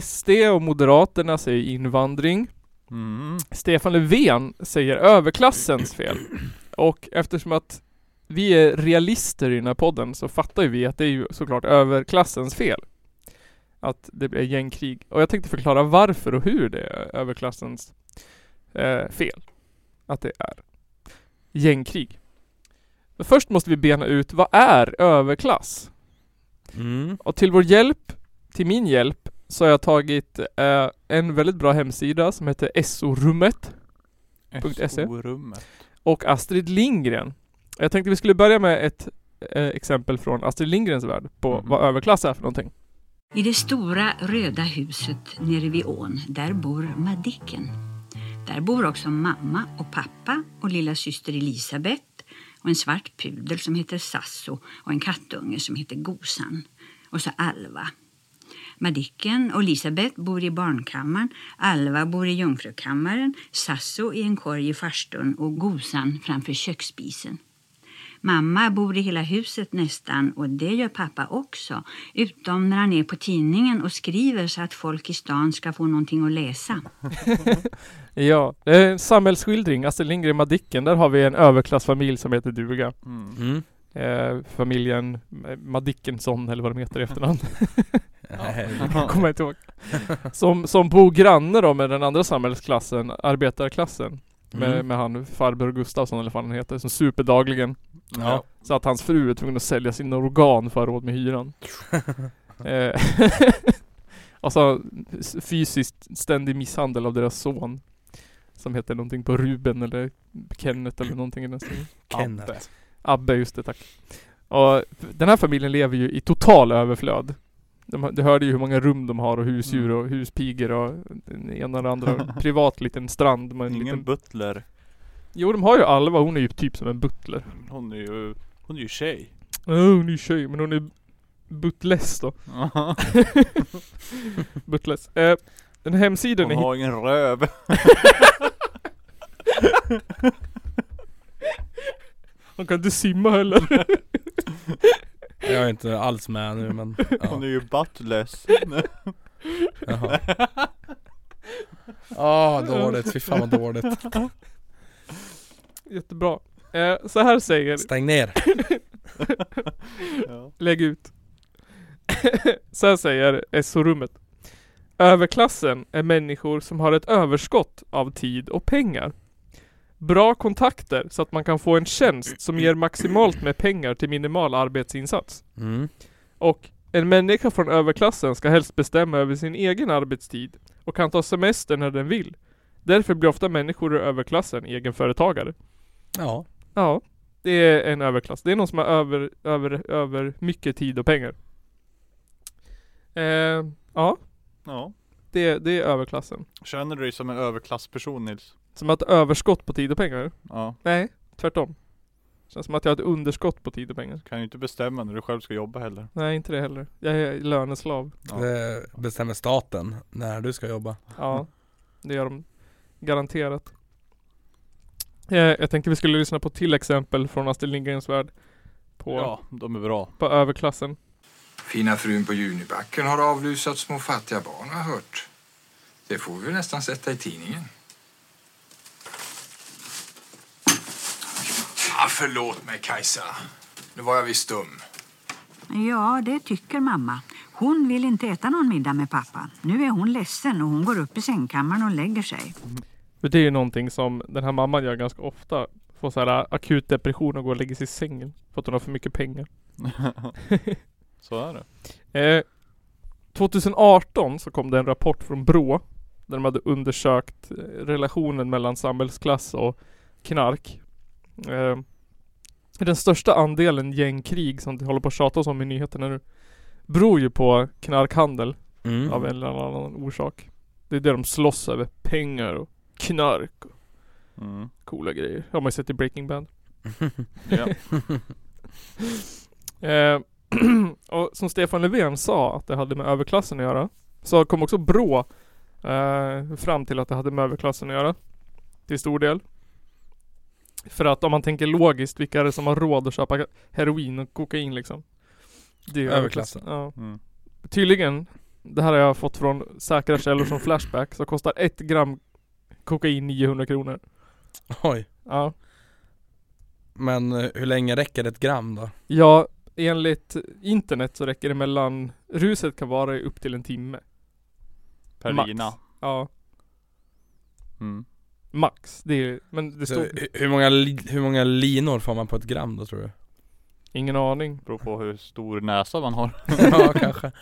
SD och Moderaterna säger invandring.
Mm.
Stefan Löfven säger överklassens fel. Och eftersom att vi är realister i den här podden så fattar ju vi att det är ju såklart överklassens fel. Att det blir gängkrig. Och jag tänkte förklara varför och hur det är överklassens eh, fel. Att det är gängkrig. Men först måste vi bena ut vad är överklass?
mm.
Och till vår hjälp, till min hjälp, så har jag tagit eh, en väldigt bra hemsida som heter SO-rummet .se.
SO-rummet.
och Astrid Lindgren. Jag tänkte vi skulle börja med ett eh, exempel från Astrid Lindgrens värld på
Mhm.
vad överklass är för någonting.
I det stora röda huset nere vid ån, där bor Madicken. Där bor också mamma och pappa och lilla syster Elisabeth och en svart pudel som heter Sasso och en kattunge som heter Gosan. Och så Alva. Madicken och Elisabeth bor i barnkammaren, Alva bor i jungfrukammaren, Sasso i en korg i farstun och Gosan framför köksspisen. Mamma bor i hela huset nästan och det gör pappa också. Utom när han är på tidningen och skriver så att folk i stan ska få någonting att läsa.
Ja, det är en samhällsskildring, Astrid Lindgren Madicken, där har vi en överklassfamilj som heter duga.
Mm.
Mm.
Eh, familjen eh, Madickensson eller vad de heter i efternamn.
Ja.
kommer jag inte ihåg. Som, som bor granne då med den andra samhällsklassen, arbetarklassen. Med,
Mm.
med han farbror Gustafsson eller vad han heter, som super dagligen.
Ja.
Så att hans fru är tvungen att sälja sina organ för att ha råd med hyran. eh, alltså s- fysiskt ständig misshandel av deras son. Som heter någonting på Ruben eller Kenneth eller någonting i den stilen.
Kenneth
Abbe, just det tack. Och den här familjen lever ju i total överflöd. De, har- du hörde ju hur många rum de har och husdjur
Mm.
och huspigor och den ena och den andra. Privat liten strand med en
Ingen
liten...
butler.
Jo de har ju Alva, hon är ju typ som en butler.
Men Hon är ju, hon är ju tjej.
Ja, hon är ju tjej men hon är butless då.
Hon
Butless. Eh, den här hemsidan ni
har ingen röv.
Hon kan inte simma heller.
Jag är inte alls med nu men ja.
Hon är ju buttless.
Jaha. Ah dåligt, fy fan vad dåligt
Jättebra. Eh, så här säger,
Stäng ner
ja.
lägg ut. så här säger SO-rummet. Överklassen är människor som har ett överskott av tid och pengar. Bra kontakter så att man kan få en tjänst som ger maximalt med pengar till minimal arbetsinsats.
mm.
Och en människa från överklassen ska helst bestämma över sin egen arbetstid och kan ta semester när den vill. Därför blir ofta människor ur överklassen egenföretagare.
Ja,
Ja, det är en överklass. Det är någon som har över, över, över mycket tid och pengar. Eh, ja,
ja.
det, det är överklassen.
Känner du dig som en överklassperson Nils?
Som att överskott på tid och pengar?
Ja.
Nej, tvärtom. Känns som att jag har ett underskott på tid och pengar.
Kan ju inte bestämma när du själv ska jobba heller.
Nej, inte det heller. Jag är löneslav.
Ja.
det bestämmer staten när du ska jobba
Ja, det gör de garanterat. Eh, jag tänkte vi skulle lyssna på till exempel från Astrid Lindgrens Värld på,
Ja, de är bra.
på överklassen.
Fina frun på Junibacken har avlusat små fattiga barn har jag hört. Det får vi nästan sätta i tidningen. Ah, förlåt mig, Kajsa. Nu var jag visst dum.
Ja, det tycker mamma. Hon vill inte äta någon middag med pappa. Nu är hon ledsen och hon går upp i sängkammaren och lägger sig.
För det är ju någonting som den här mamman gör ganska ofta. Får så här äh, akut depression och går och lägger sig i sängen. För att hon har för mycket pengar.
Så är det.
Eh, 2018 så kom det en rapport från Brå. Där de hade undersökt eh, relationen mellan samhällsklass och knark. Eh, den största andelen gängkrig som det håller på att tjatas om i nyheterna nu. Beror ju på knarkhandel
mm.
av en eller annan orsak. Det är det de slåss över. Pengar och knark och
Mm.
coola grejer. Har man ju sett i Breaking Bad.
Ja.
Eh, och som Stefan Löfven sa att det hade med överklassen att göra. Så kom också Brå eh, fram till att det hade med överklassen att göra. Till stor del. För att om man tänker logiskt, vilka är det som har råd att köpa heroin och kokain liksom? Det är ju
Överklassen.
överklassen. Ja.
Mm.
Tydligen, det här har jag fått från säkra källor som Flashback, så kostar ett gram kokain 900 kronor.
Oj
Ja.
Men eh, hur länge räcker ett gram då?
Ja, enligt internet så räcker det mellan Ruset kan vara i upp till en timme
Per
Max.
lina.
Ja,
Mm.
max det är, Men det
Så,
står
hu- hur, många, li- hur många linor får man på ett gram då tror du?
Ingen aning
Beror på hur stor näsa man har.
ja kanske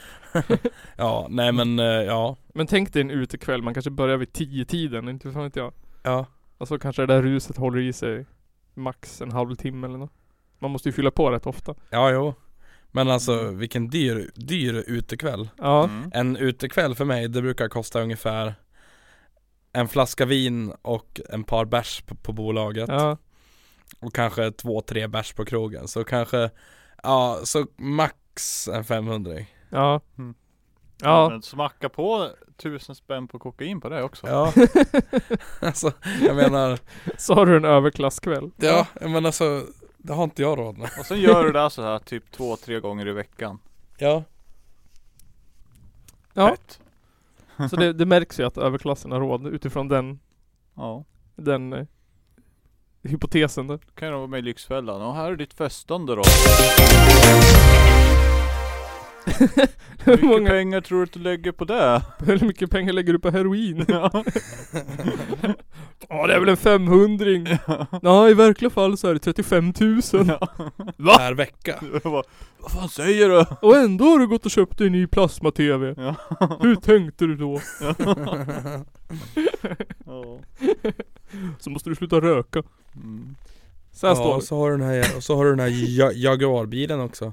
Ja, nej men eh, ja
Men tänk dig en utekväll, man kanske börjar vid tio tiden inte fan vet jag
Ja,
Och så kanske det där ruset håller i sig Max en halvtimme eller något Man måste ju fylla på rätt ofta
ja jo Men alltså
Mm.
vilken dyr, dyr utekväll
Ja,
Mm.
En utekväll för mig, det brukar kosta ungefär en flaska vin och en par bärs på, på bolaget
ja,
och kanske två, tre bärs på krogen så kanske, ja så max en 500
ja
Mm.
Ja,
Men smacka på tusen spänn på kokain på det också.
Ja Alltså jag menar,
så har du en överklasskväll
ja jag menar så det har inte jag råd med
Och sen gör du det här så här typ två, tre gånger i veckan.
Ja,
Ja.
Fett.
Så det, det märks ju att överklassen har råd utifrån den,
Ja.
den eh, hypotesen där
Då kan jag vara med i Lyxfällan. Och här är ditt festande då. Hur
Hur
mycket
många,
pengar tror du att du lägger på det?
hur mycket pengar lägger du på heroin?
Ja.
Ja det är väl en 500 Nej i verkliga fall så är det 35 000
per vecka
Jag bara, Vad fan säger du?
Och ändå har du gått och köpt dig en ny plasma-tv
Ja.
Hur tänkte du då?
Ja.
Så måste du sluta röka
Mm.
Så här
Ja,
står
och
det
så har du den här, och så har du den här ja, Jaguarbilen också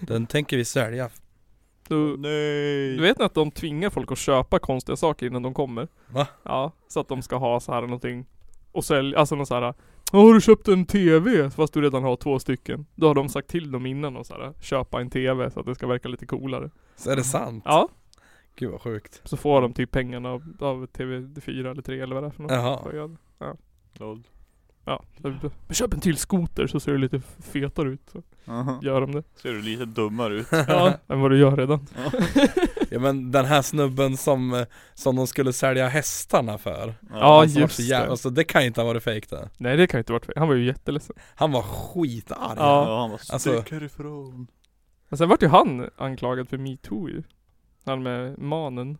Den tänker vi sälja
du,
Nej.
du vet ni att de tvingar folk att köpa konstiga saker innan de kommer?
Va?
Ja, så att de ska ha så här någonting och sälja, alltså någon så här Har du köpt en TV? Fast du redan har två stycken. Då har de sagt till dem innan och så här, köpa en TV så att det ska verka lite coolare.
Så är det sant?
Ja.
Gud vad sjukt.
Så får de typ pengarna av, av TV4 eller 3 eller vad det är för något.
Jaha.
Så jag- Ja.
Lol.
Ja. så- Men köp en till skoter så ser du lite fetare ut. Så
Aha.
gör de det.
Ser du lite dummare ut?
Ja, än vad du gör redan.
Ja men den här snubben som, eh, som de skulle sälja hästarna för
Ja,
Han som var
just
så jävla,
det.
alltså, det kan ju inte ha varit fejk det
Nej det kan ju inte varit fel. Han var ju jätteledsen.
Han var skitarg
Ja.
Ja, han var stick
Alltså-
härifrån.
Men sen vart ju han anklagad för metoo ju. Han med manen.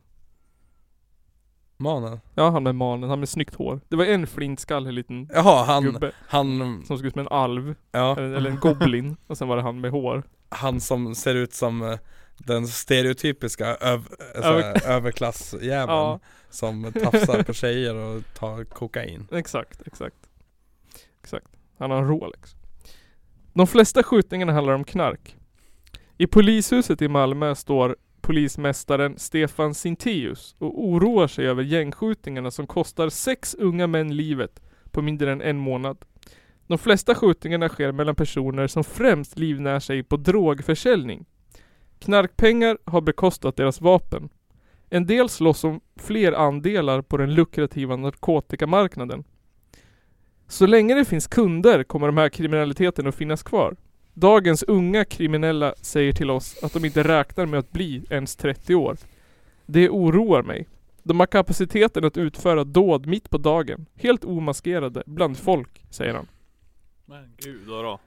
Mannen
Ja han med manen, han med snyggt hår. Det var en flintskallig liten
Jaha han,
gubbe
han,
som såg ut som en alv.
ja,
Eller, eller en goblin. Och sen var det han med hår.
han som ser ut som eh, den stereotypiska öv, eh, så här, överklassjäveln
Ja.
Som tafsar på tjejer och tar kokain
Exakt, exakt. Exakt. Han har en Rolex. De flesta skjutningarna handlar om knark. I polishuset i Malmö står polismästaren Stefan Sintius och oroar sig över gängskjutningarna som kostar sex unga män livet på mindre än en månad. De flesta skjutningarna sker mellan personer som främst livnär sig på drogförsäljning. Knarkpengar har bekostat deras vapen. En del slåss om fler andelar på den lukrativa narkotikamarknaden. Så länge det finns kunder kommer de här kriminaliteten att finnas kvar. Dagens unga kriminella säger till oss att de inte räknar med att bli ens 30 år. Det oroar mig. De har kapaciteten att utföra dåd mitt på dagen, helt omaskerade, bland folk, säger han.
Men gud då. då.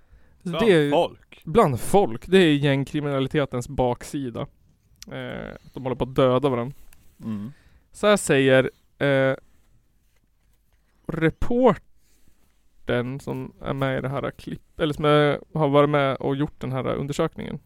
Så
Bland
det är-
folk.
Bland folk, det är gängkriminalitetens baksida. Eh, de håller på att döda varandra.
Mm.
Så här säger eh, reportern som är med i det här klipp, eller som är, har varit med och gjort den här undersökningen.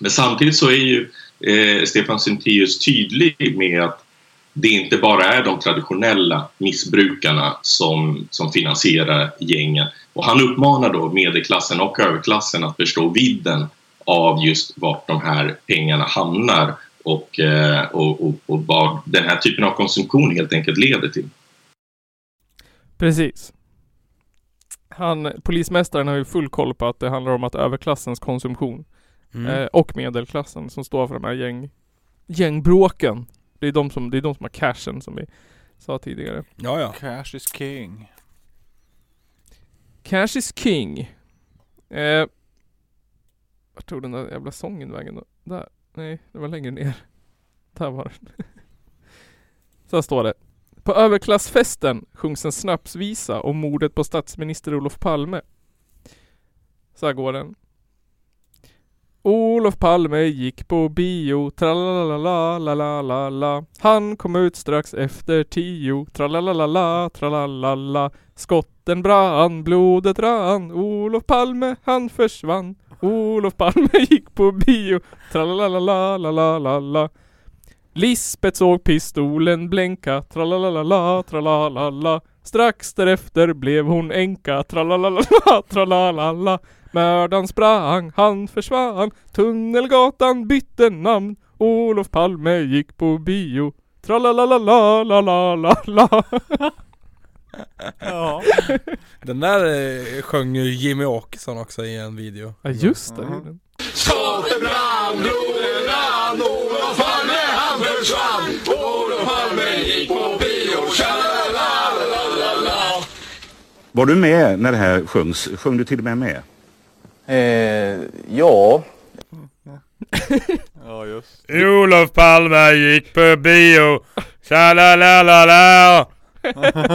Men samtidigt så är ju eh, Stefan Sintéus tydlig med att det inte bara är de traditionella missbrukarna som, som finansierar gängen. Och han uppmanar då medelklassen och överklassen att förstå vidden av just vart de här pengarna hamnar och, eh, och, och, och vad den här typen av konsumtion helt enkelt leder till.
Precis. Han, polismästaren har ju full koll på att det handlar om att överklassens konsumtion
mm.
eh, och medelklassen som står för de här gäng, gängbråken. Det är, de som, det är de som har cashen som vi sa tidigare.
Ja ja,
Cash is king.
Cash is king. Eh, vart tog den där jävla sången vägen då? Där? Nej, det var längre ner. Där var den. Så här står det. På överklassfesten sjungs en snapsvisa om mordet på statsminister Olof Palme. Så här går den. Olof Palme gick på bio, tralalala, la la Han kom ut strax efter tio, tralalala, tralalala. Skotten brann, blodet rann, Olof Palme han försvann. Olof Palme gick på bio, tralalala, la la la la. Lisbeth såg pistolen blänka, tralalala, tralalala. Strax därefter blev hon änka, tralalala, tralalala. Mördaren sprang, han försvann, Tunnelgatan bytte namn, Olof Palme gick på bio, tralalala, la la la la.
Ja.
den där eh, sjöng ju Jimmy Åkesson också i en video
Ja just det. Mm.
Skotten brann, blodet rann, Olof Palme han försvann. Olof Palme gick på bio, tja-la-la-la-la-la.
Var du med när det här sjöngs? Sjöng du till och med med?
ja.
Ja just.
Olof Palme gick på bio, tja la la la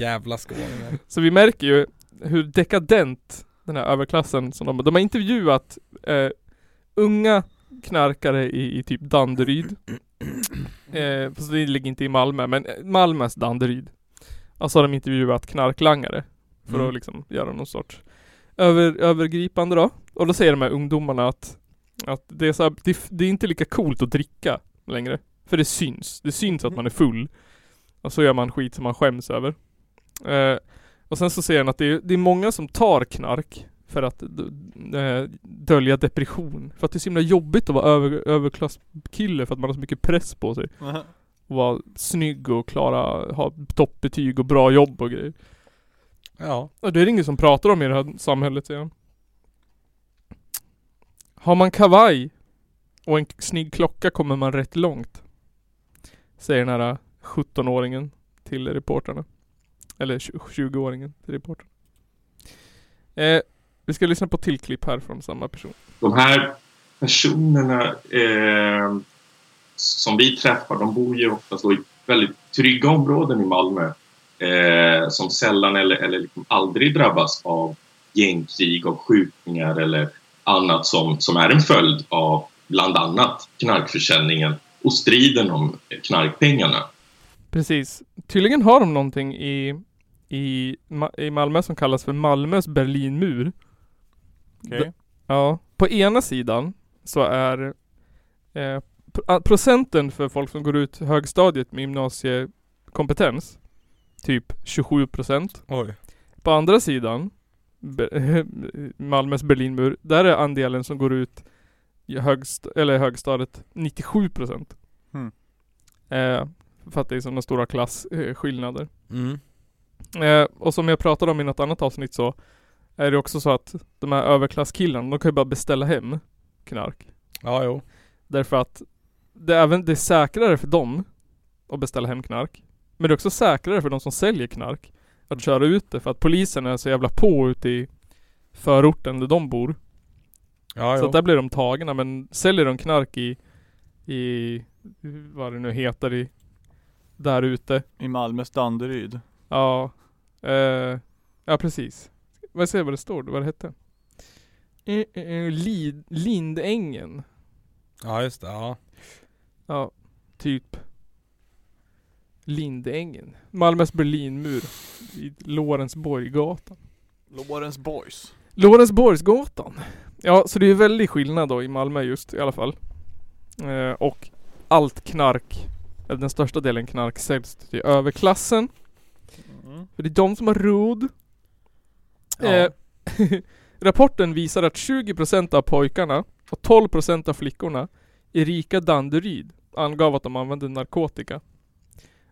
Jävla skåningar
Så vi märker ju hur dekadent den här överklassen som de, de har intervjuat eh, unga knarkare i, i typ Danderyd. Eh, fast det ligger inte i Malmö, men eh, Malmös Danderyd. Alltså har de intervjuat knarklangare. För
Mm.
att liksom göra någon sorts över, övergripande då. Och då säger de här ungdomarna att, att det, är så här, det, det är inte lika coolt att dricka längre. För det syns. Det syns att man är full. Och så gör man skit som man skäms över. Eh, och sen så ser han att det är, det är många som tar knark för att d- d- eh, dölja depression. För att det är så himla jobbigt att vara över, överklasskille för att man har så mycket press på sig. Och vara snygg och klara, ha toppbetyg och bra jobb och grejer.
Ja.
Och det är det ingen som pratar om i det här samhället igen. Har man kavaj och en k- snygg klocka kommer man rätt långt. Säger den här 17-åringen till reportrarna. Eller 20-åringen till reportrarna. Eh, vi ska lyssna på ett till klipp här från samma person.
De här personerna eh, som vi träffar, de bor ju oftast då i väldigt trygga områden i Malmö eh, som sällan eller, eller liksom aldrig drabbas av gängkrig, av skjutningar eller annat som, som är en följd av bland annat knarkförsäljningen och striden om knarkpengarna.
Precis. Tydligen har de någonting i, i, Ma- i Malmö som kallas för Malmös Berlinmur.
Okej.
D- Ja. På ena sidan så är eh, pr- ah, procenten för folk som går ut högstadiet med gymnasiekompetens typ 27 procent.
Oj.
På andra sidan Be- Malmös Berlinmur, där är andelen som går ut i högst- eller högstadiet 97 procent.
Hmm.
Eh, för att det är sådana stora klasskillnader.
Mm.
Eh, och som jag pratade om i något annat avsnitt så är det också så att de här överklasskillarna, de kan ju bara beställa hem knark.
Ja, jo.
Därför att det är, även, det är säkrare för dem att beställa hem knark. Men det är också säkrare för de som säljer knark att köra ut det för att polisen är så jävla på ute i förorten där de bor.
Ja,
så
jo.
att där blir de tagna men säljer de knark i, i vad det nu heter i, där ute.
I Malmös Danderyd.
Ja. Eh, ja precis. Vad jag säger vad det står, vad det hette. Eh, eh, eh, Lid, Lindängen.
Ja, just det. Ja.
Ja, typ. Lindängen. Malmös Berlinmur. I Lorensborggatan.
Lorens Boys.
Lorensborgsgatan. Ja, så det är ju väldigt skillnad då i Malmö just i alla fall. Eh, och allt knark, eller den största delen knark säljs till överklassen. För det är de som har råd. Eh, rapporten visar att 20% av pojkarna och 12% av flickorna i rika Danderyd angav att de använde narkotika.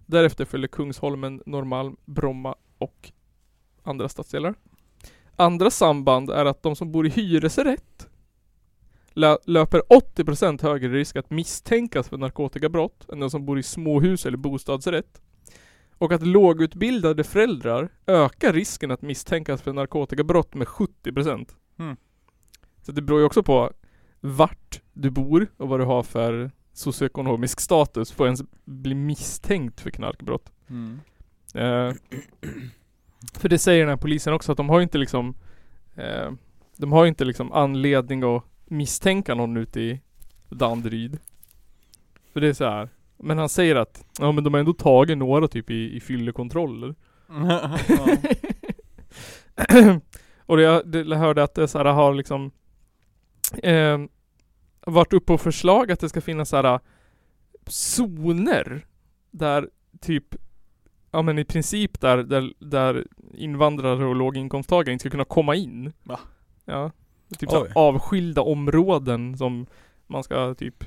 Därefter följde Kungsholmen, Norrmalm, Bromma och andra stadsdelar. Andra samband är att de som bor i hyresrätt lö- löper 80% högre risk att misstänkas för narkotikabrott än den som bor i småhus eller bostadsrätt. Och att lågutbildade föräldrar ökar risken att misstänkas för narkotikabrott med 70%.
Mm.
Så det beror ju också på vart du bor och vad du har för socioekonomisk status för att ens bli misstänkt för knarkbrott.
Mm.
Eh, för det säger den här polisen också att de har ju inte liksom eh, De har ju inte liksom anledning att misstänka någon ute i Danderyd. För det är så här. Men han säger att ja men de har ändå tagit några typ i, i fyllekontroller.
Ja.
och det, jag det, jag hörde att det så här har liksom eh, varit uppe på förslag att det ska finnas så här äh, zoner där typ Ja men i princip där, där, där invandrare och låginkomsttagare inte ska kunna komma in.
Va?
Ja. Typ så här
Oj.
avskilda områden som man ska typ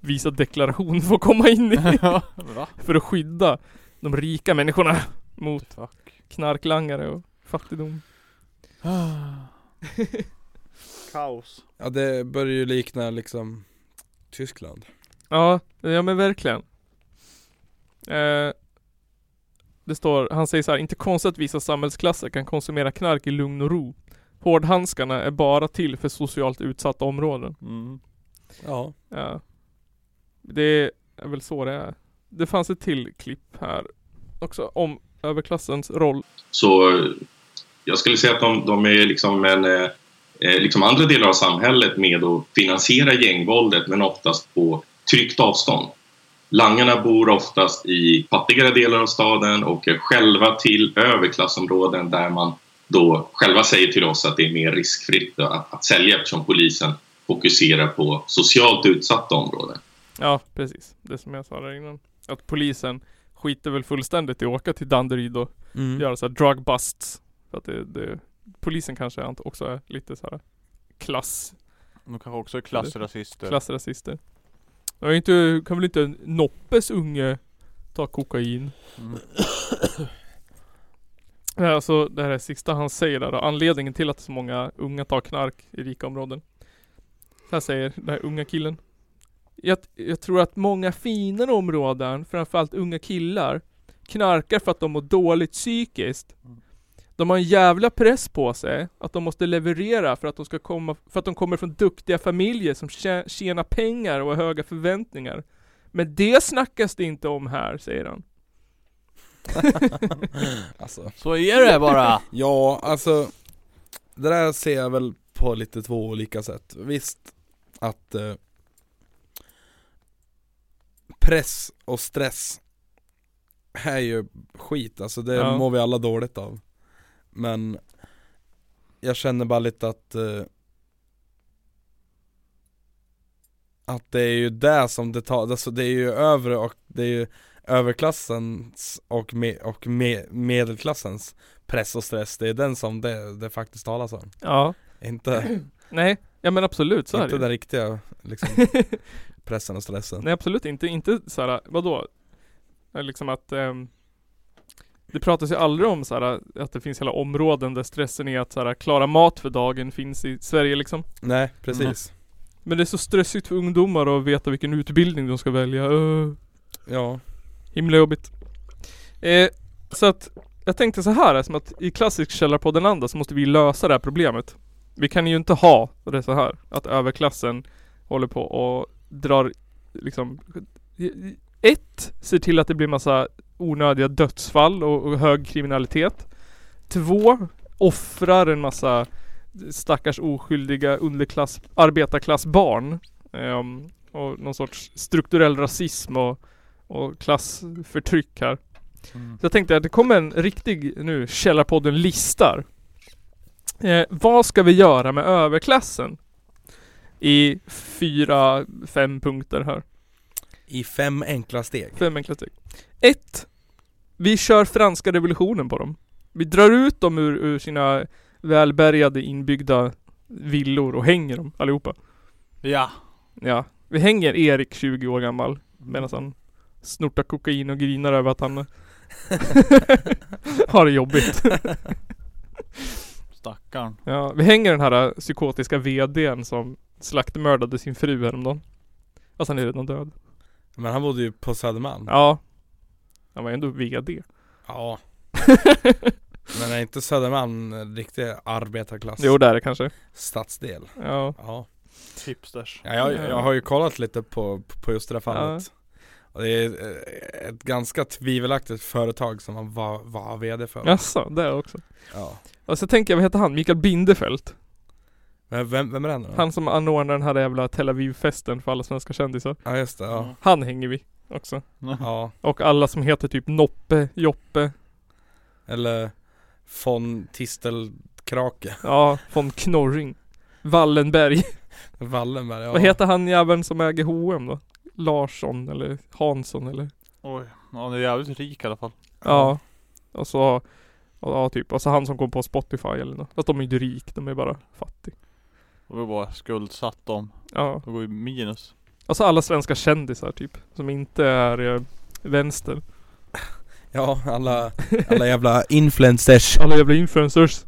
visa deklaration för att komma in i.
Va?
för att skydda de rika människorna mot knarklangare och fattigdom.
Kaos.
Ja, det börjar ju likna liksom Tyskland.
Ja, ja men verkligen. Eh, det står, han säger så här, inte konstigt att vissa samhällsklasser kan konsumera knark i lugn och ro. Hårdhandskarna är bara till för socialt utsatta områden.
Mm.
Ja.
Ja. Det är väl så det är. Det fanns ett till klipp här också om överklassens roll.
Så eh, jag skulle säga att de, de är liksom, en, eh, eh, liksom andra delar av samhället med att finansiera gängvåldet men oftast på tryggt avstånd. Langarna bor oftast i fattigare delar av staden och är själva till överklassområden där man då själva säger till oss att det är mer riskfritt att, att sälja eftersom polisen fokuserar på socialt utsatta områden.
Ja, precis. Det som jag sa där innan. Att polisen skiter väl fullständigt i att åka till Danderyd och
Mm.
göra så här drug busts. För att det, det, polisen kanske ant- också är lite så här klass...
De kanske också är klassrasister.
Klassrasister. Jag är inte, kan väl inte Noppes unge Ta kokain. Det här, är alltså, det här är sista han säger där då. Anledningen till att så många unga tar knark i rika områden. Så här säger den här unga killen. Jag, jag tror att många finare områden, framförallt unga killar, knarkar för att de mår dåligt psykiskt. De har en jävla press på sig att de måste leverera för att de ska komma, för att de kommer från duktiga familjer som tjä- tjänar pengar och har höga förväntningar. Men det snackas det inte om här, säger han.
Alltså.
Så är det bara.
ja, alltså Det där ser jag väl på lite två olika sätt Visst att eh, Press och stress Är ju skit, alltså det
Ja.
mår vi alla dåligt av Men Jag känner bara lite att eh, Att det är ju det som det tar, alltså det är ju övre och det är ju överklassens och, me, och me, medelklassens press och stress, det är den som det, det faktiskt talas om.
Ja.
Inte,
Nej, ja men absolut så är
inte
det ju.
den riktiga liksom, pressen och stressen.
Nej absolut inte, inte såhär, vadå? Eh, Liksom att ehm, Det pratas ju aldrig om såhär att det finns hela områden där stressen är att såhär klara mat för dagen finns i Sverige liksom
Nej, precis.
Men det är så stressigt för ungdomar att veta vilken utbildning de ska välja, Öh.
Ja
Himla jobbigt eh, Så att Jag tänkte så här, som att i klassisk Källarpodden Anda så måste vi lösa det här problemet Vi kan ju inte ha det så här Att överklassen håller på och drar liksom Ett, ser till att det blir massa onödiga dödsfall och, och hög kriminalitet Två, offrar en massa stackars oskyldiga underklass, arbetarklassbarn ehm, och någon sorts strukturell rasism och, och klassförtryck här.
Mm.
Så jag tänkte att det kommer en riktig nu Källarpodden listar. Eh, vad ska vi göra med överklassen? I fyra, fem punkter här.
I fem enkla steg.
Fem enkla steg. Ett. Vi kör franska revolutionen på dem. Vi drar ut dem ur, ur sina välbärgade inbyggda villor och hänger dem allihopa.
Ja.
Ja. Vi hänger Erik 20 år gammal medan han snortar kokain och grinar över att han har det jobbigt.
Stackarn.
Ja, vi hänger den här äh, psykotiska VDn som slaktmördade sin fru häromdagen. Fast han är redan död.
Men han bodde ju på Södermalm.
Ja. Han var ändå VD.
Ja. Men är inte Södermalm en riktig arbetarklass?
Jo, det är det kanske.
Stadsdel.
Ja.
ja.
Hipsters.
Ja, jag, jag har ju kollat lite på, på just det där fallet. Och det är eh, ett ganska tvivelaktigt företag som han var, var VD för.
Jaså, det också.
Ja.
Och så tänker jag, vad heter han? Mikael Bindefeld.
Men vem, vem är den då?
Han som anordnar den här jävla Tel Aviv-festen för alla svenska kändisar.
Ja just det, ja.
Han hänger vi också.
Ja.
Och alla som heter typ Noppe, Joppe,
Eller von Tistelkrake.
ja, von Knorring, Wallenberg.
Wallenberg, ja.
Vad heter han jäveln som äger H&M då? Larsson eller Hansson eller?
Oj. Ja, han är jävligt rik i alla fall.
Ja. Och så, och, ja typ, och så han som kom på Spotify eller något. Fast de är ju inte rik, de är bara fattig.
Och vi bara skuldsatt dem.
Ja.
Då går vi minus.
Och så alla svenska kändisar typ, som inte är eh, vänster.
Ja, alla, alla jävla influencers.
Alla jävla influencers.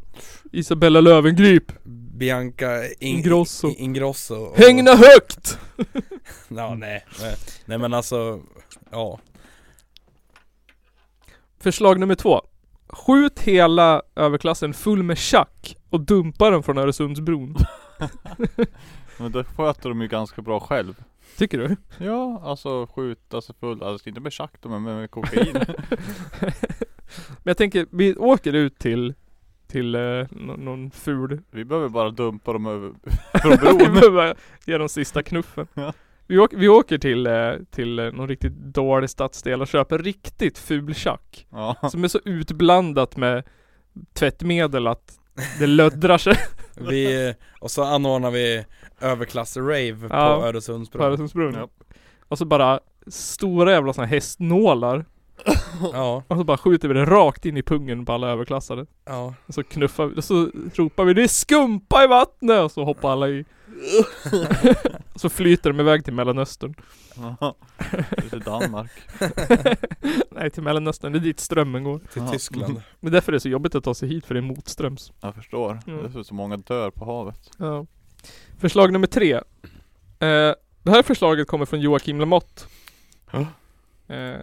Isabella Löwengrip.
Bianca In-
Ingrosso.
Ingrosso. och-
Hängna högt!
Ja, nej. nej. Nej men alltså, ja.
Förslag nummer två. Skjut hela överklassen full med tjack och dumpa den från Öresundsbron.
Men det sköter de ju ganska bra själv.
Tycker du?
Ja, alltså skjuta sig full. Alltså inte med tjack då, men med kokain.
Men jag tänker, vi åker ut till, till eh, nå- någon ful
vi behöver bara dumpa dem över
Vi
från bron.
behöver bara ge dem sista knuffen. Vi, åker, vi åker till, eh, till eh, någon riktigt dålig stadsdel och köper riktigt ful tjack. Som är så utblandat med tvättmedel att det löddrar sig.
Vi, och så anordnar vi överklass-rave
Ja,
på Öresundsbron.
på Öresundsbron. Och så bara stora jävla såna här hästnålar.
Ja.
Och så bara skjuter vi det rakt in i pungen på alla överklassade.
Ja.
Och så knuffar vi, och så ropar vi det är skumpa i vattnet! Och så hoppar alla i. Så flyter de iväg till Mellanöstern.
Ja, till Danmark.
Nej, till Mellanöstern. Det är dit strömmen går.
Till Ja. Tyskland.
Men därför är det så jobbigt att ta sig hit, för det är motströms.
Jag förstår.
Ja.
Det är så- så många dör på havet.
Ja. Förslag nummer tre. Eh, det här förslaget kommer från Joakim Lamotte. Eh,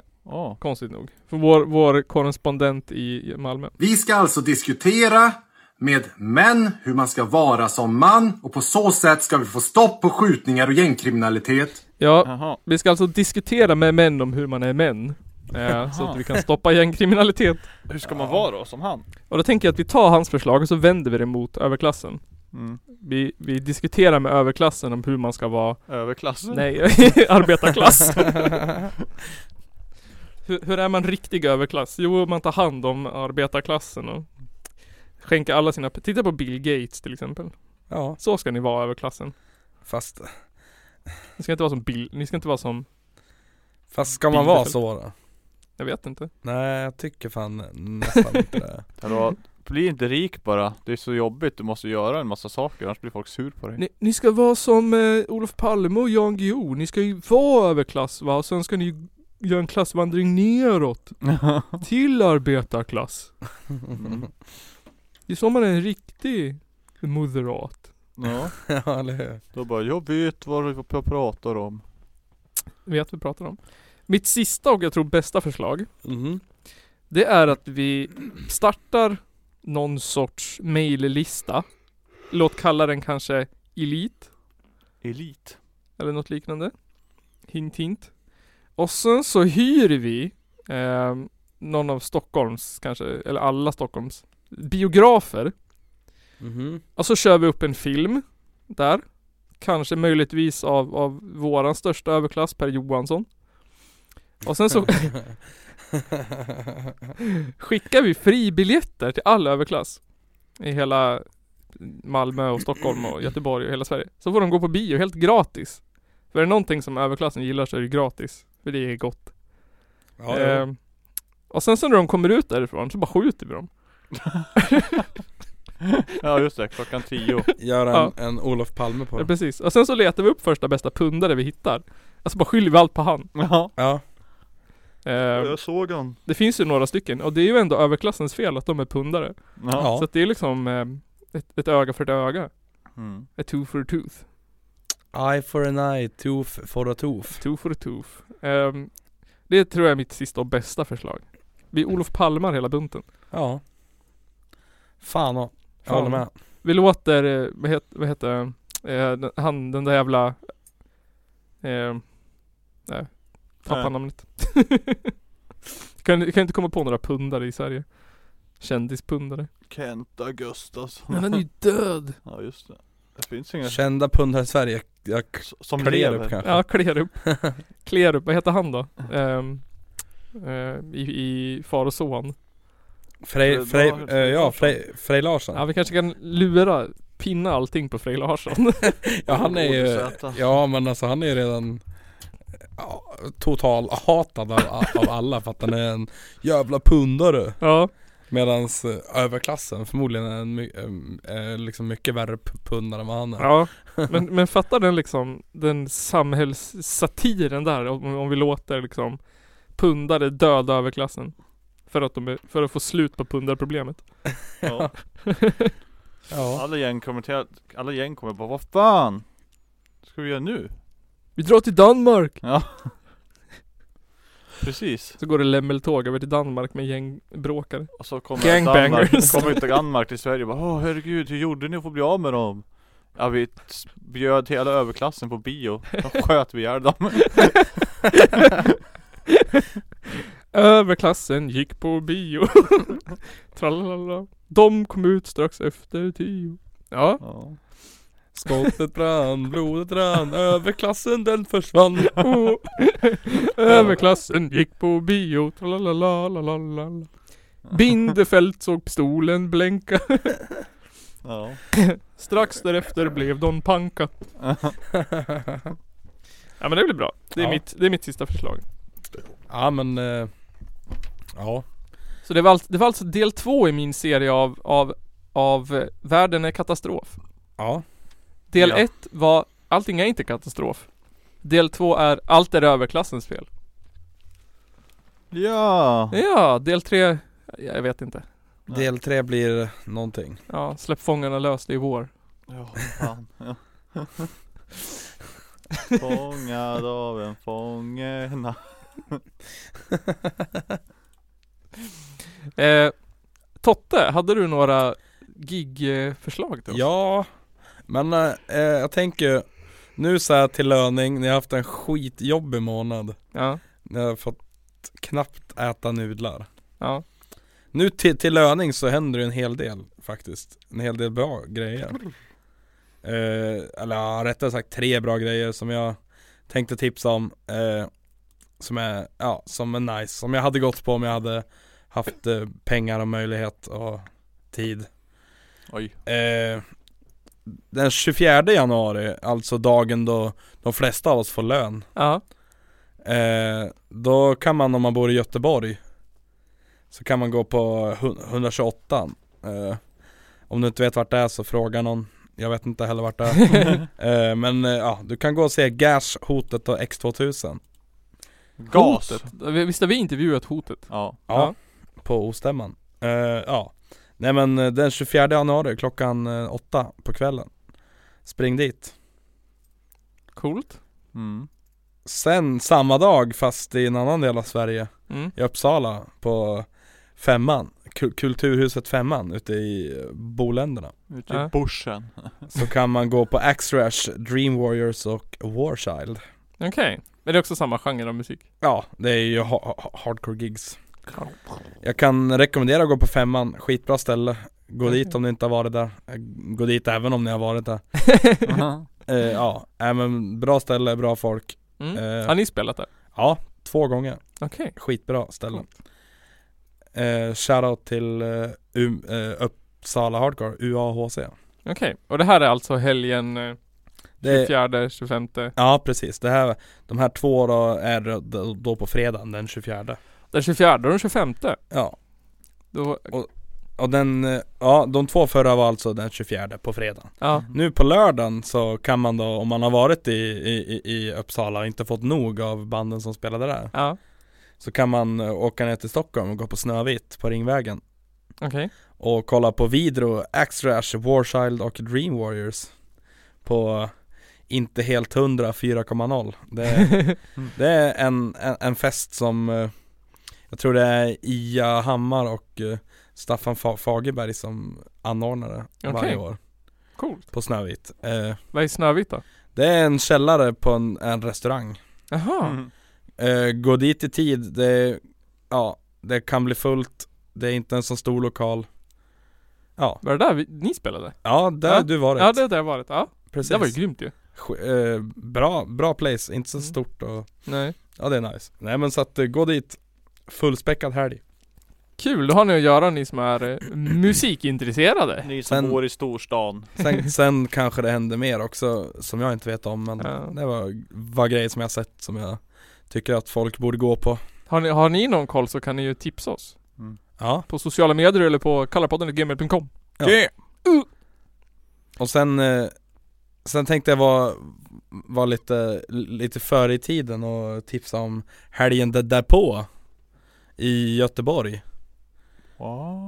Konstigt nog. För vår, vår korrespondent i Malmö.
Vi ska alltså diskutera med män hur man ska vara som man och på så sätt ska vi få stopp på skjutningar och gängkriminalitet.
Ja, vi ska alltså diskutera med män om hur man är män. Eh, så att vi kan stoppa gängkriminalitet.
Hur ska man vara då, som han?
Och då tänker jag att vi tar hans förslag och så vänder vi det mot överklassen.
Mm.
Vi, vi diskuterar med överklassen om hur man ska vara
Överklassen?
Nej, arbetarklass hur, hur är man riktig överklass? Jo, man tar hand om arbetarklassen och skänker alla sina Titta på Bill Gates till exempel
Ja.
Så ska ni vara överklassen
Fast
Ni ska inte vara som Bill, ni ska inte vara som
Fast ska man vara så då?
Jag vet inte
Nej jag tycker fan nästan inte det
Hallå, bli inte rik bara. Det är så jobbigt. Du måste göra en massa saker, annars blir folk sur på dig.
Ni, ni ska vara som eh, Olof Palme och Jan Guillou. Ni ska ju vara överklass va? Och sen ska ni ju göra en klassvandring neråt. till arbetarklass. Det är så man är en riktig moderat.
Ja.
ja, eller hur?
Då bara, jag vet vad jag pratar om.
Vet vi pratar om. Mitt sista och jag tror bästa förslag.
Mhm,
Det är att vi startar någon sorts maillista. Låt kalla den kanske Elit.
Elit.
Eller något liknande. Hint hint. Och sen så hyr vi eh, någon av Stockholms kanske, eller alla Stockholms biografer.
Mhm.
Och så kör vi upp en film där. Kanske möjligtvis av, av våran största överklass, Per Johansson. Och sen så skickar vi fribiljetter till all överklass. I hela Malmö och Stockholm och Göteborg och hela Sverige. Så får de gå på bio helt gratis. För är det någonting som överklassen gillar så är det gratis. För det är gott.
Ja,
Ehm, och sen så när de kommer ut därifrån så bara skjuter vi dem.
Ja just det, klockan tio.
Göra en, en Olof Palme på
Ja,
det
precis. Och sen så letar vi upp första bästa pundare vi hittar. Alltså bara skyller vi allt på han. Ehm,
Ja.
ja.
jag såg han.
Det finns ju några stycken och det är ju ändå överklassens fel att de är pundare.
Ja.
Så att det är liksom eh, ett, ett öga för ett öga.
Mm.
A tooth for a tooth.
Eye for an eye, tooth for a tooth
Tooth for a tooth. Ehm, det tror jag är mitt sista och bästa förslag. Vi Olof Palmar hela bunten.
Ja Fan och, jag
Fan.
håller med
Vi låter, eh, vad heter, vad heter eh, den- han, den där jävla eh, Nej, tappar
Nej.
namnet kan, kan inte komma på några pundare i Sverige Kändispundare
Kenta Gustafsson.
Men han är ju död!
Ja just det. Det finns inga...
Kända pundare i Sverige, jag
som
klär
lever.
upp kanske
Ja, Klerup Klerup, vad heter han då? Ehm, eh, i, I Far och Son
Frej, Frej, eh, ja Frej, Frej Larsson
Ja vi kanske kan lura, pinna allting på Frej Larsson
Ja han är ju, ja men alltså han är ju redan ja, total hatad av, av alla för att han är en jävla pundare
Ja
Medans eh, överklassen förmodligen är en, my- em, eh, liksom mycket värre p- pundare än vad han är
Ja, men, men fatta den liksom, den samhällssatiren där om, om vi låter liksom pundare döda överklassen. För att, de är, för att få slut på pundarproblemet.
Ja.
Ja.
Alla gäng kommer till, alla gäng kommer bara, vad fan? Ska vi göra nu?
Vi drar till Danmark!
Ja. Precis.
Så går det lämmeltåg över till Danmark med gängbråkare.
Och så kommer
Gangbangers.
Danmark, kommer inte Danmark till Sverige och bara Åh herregud, hur gjorde ni för att bli av med dem? Ja vi t- bjöd hela överklassen på bio, då sköt vi ihjäl dem
Överklassen gick på bio. Tralala. De kom ut strax efter tio. Ja.
Skottet brann, blodet rann, överklassen den försvann
Oh. Överklassen gick på bio. Tralalalalala. Bindefält såg pistolen blänka.
Ja.
Strax därefter blev Don Panka. Ja men det blir bra. Det är,
Ja.
mitt, det är mitt sista förslag.
Ja men, eh, ja
Så det var, allt, det var alltså del två i min serie av, av, av eh, Världen är katastrof.
Ja
Del
Ja.
ett var allting är inte katastrof. Del två är allt är överklassens fel.
Ja.
Ja, del tre, jag vet inte.
Del tre blir någonting.
Ja, släpp fångarna lös, det är vår.
Ja, fan. Ja. Fångad av en fånge na-
Eh, Totte, hade du några gigförslag till oss?
Ja, men eh, eh, jag tänker ju, nu så här till löning, ni har haft en skitjobbig månad.
Ja.
Ni har fått knappt äta nudlar.
Ja.
Nu till, till löning så händer det en hel del faktiskt. En hel del bra grejer. Eh, eller ja, rättare sagt tre bra grejer som jag tänkte tipsa om. Eh, som är, ja, som är nice. Som jag hade gått på om jag hade haft eh, pengar och möjlighet och tid.
Oj.
Eh, den 24 januari, alltså dagen då de flesta av oss får lön.
Ja.
Eh, då kan man om man bor i Göteborg Så kan man gå på hun- 128 eh, Om du inte vet vart det är så fråga någon Jag vet inte heller vart det är eh, Men eh, ja, du kan gå och se Gash, Hotet och X2000
Gas.
Hotet. Visst har vi intervjuat hotet?
Ja.
Ja, på ostämman. Eh, ja. Nej men eh, den 24 januari klockan eh, åtta på kvällen. Spring dit.
Coolt.
Mm.
Sen samma dag fast i en annan del av Sverige,
Mm.
i Uppsala på Femman, Ku- Kulturhuset Femman ute i eh, Boländerna.
Ute i bushen.
Så kan man gå på Axe-Rash, Dream Warriors och Warchild.
Okej, men det är också samma genre av musik?
Ja, det är ju ha- ha- hardcore gigs. Jag kan rekommendera att gå på femman, skitbra ställe Gå dit om ni inte har varit där Eh, Gå dit även om ni har varit där eh, Ja, äh, men bra ställe, bra folk
Mm.
Eh.
Har ni spelat där?
Ja, två gånger
Okej.
Skitbra ställe eh, Shoutout till eh, U- eh, Uppsala Hardcore, UAHC
Okej, och det här är alltså helgen eh,
Det är-
24, 25
Ja precis, det här, de här två då är då- då på fredagen den 24
Den 24 och den 25
Ja
Då...
och, och den, eh, ja de två förra var alltså den 24 på fredagen
Ja.
Nu på lördagen så kan man då, om man har varit i, i, i- i Uppsala och inte fått nog av banden som spelade där
Ja.
Så kan man eh, åka ner till Stockholm och gå på Snövit på Ringvägen
Okej
Och kolla på Vidro, Axe Rash, Warchild och Dream Warriors På inte helt 100, 4,0 det, är- det är en, en, en fest som eh, Jag tror det är Ia Hammar och eh, Staffan Fa- Fagerberg som anordnar det
Okej.
varje år
Coolt.
På Snövit eh,
Vad är Snövit då?
Det är en källare på en, en restaurang
Jaha.
Mm.
Eh, gå dit i tid, det, ja, det kan bli fullt, det är inte en så stor lokal Ja
Var det där vi, ni spelade?
Ja, där
ja.
du varit
Ja, det har där jag varit. Ja.
Precis.
Det var ju grymt Mm. ju.
Sk- eh, bra, bra place, inte så stort och
Nej.
Ja det är nice Nej men så att, eh, gå dit Fullspäckad helg
Kul, då har ni att göra ni som är eh, musikintresserade.
Ni som bor i storstan.
sen, sen kanske det händer mer också som jag inte vet om men det var, var grejer som jag sett som jag tycker att folk borde gå på
Har ni, har ni någon koll så kan ni ju tipsa oss.
Ja
På sociala medier eller på kallarpodden.gmail.com.
Ja. Och sen, eh, sen tänkte jag vara var lite, lite före i tiden och tipsa om helgen där- därpå I Göteborg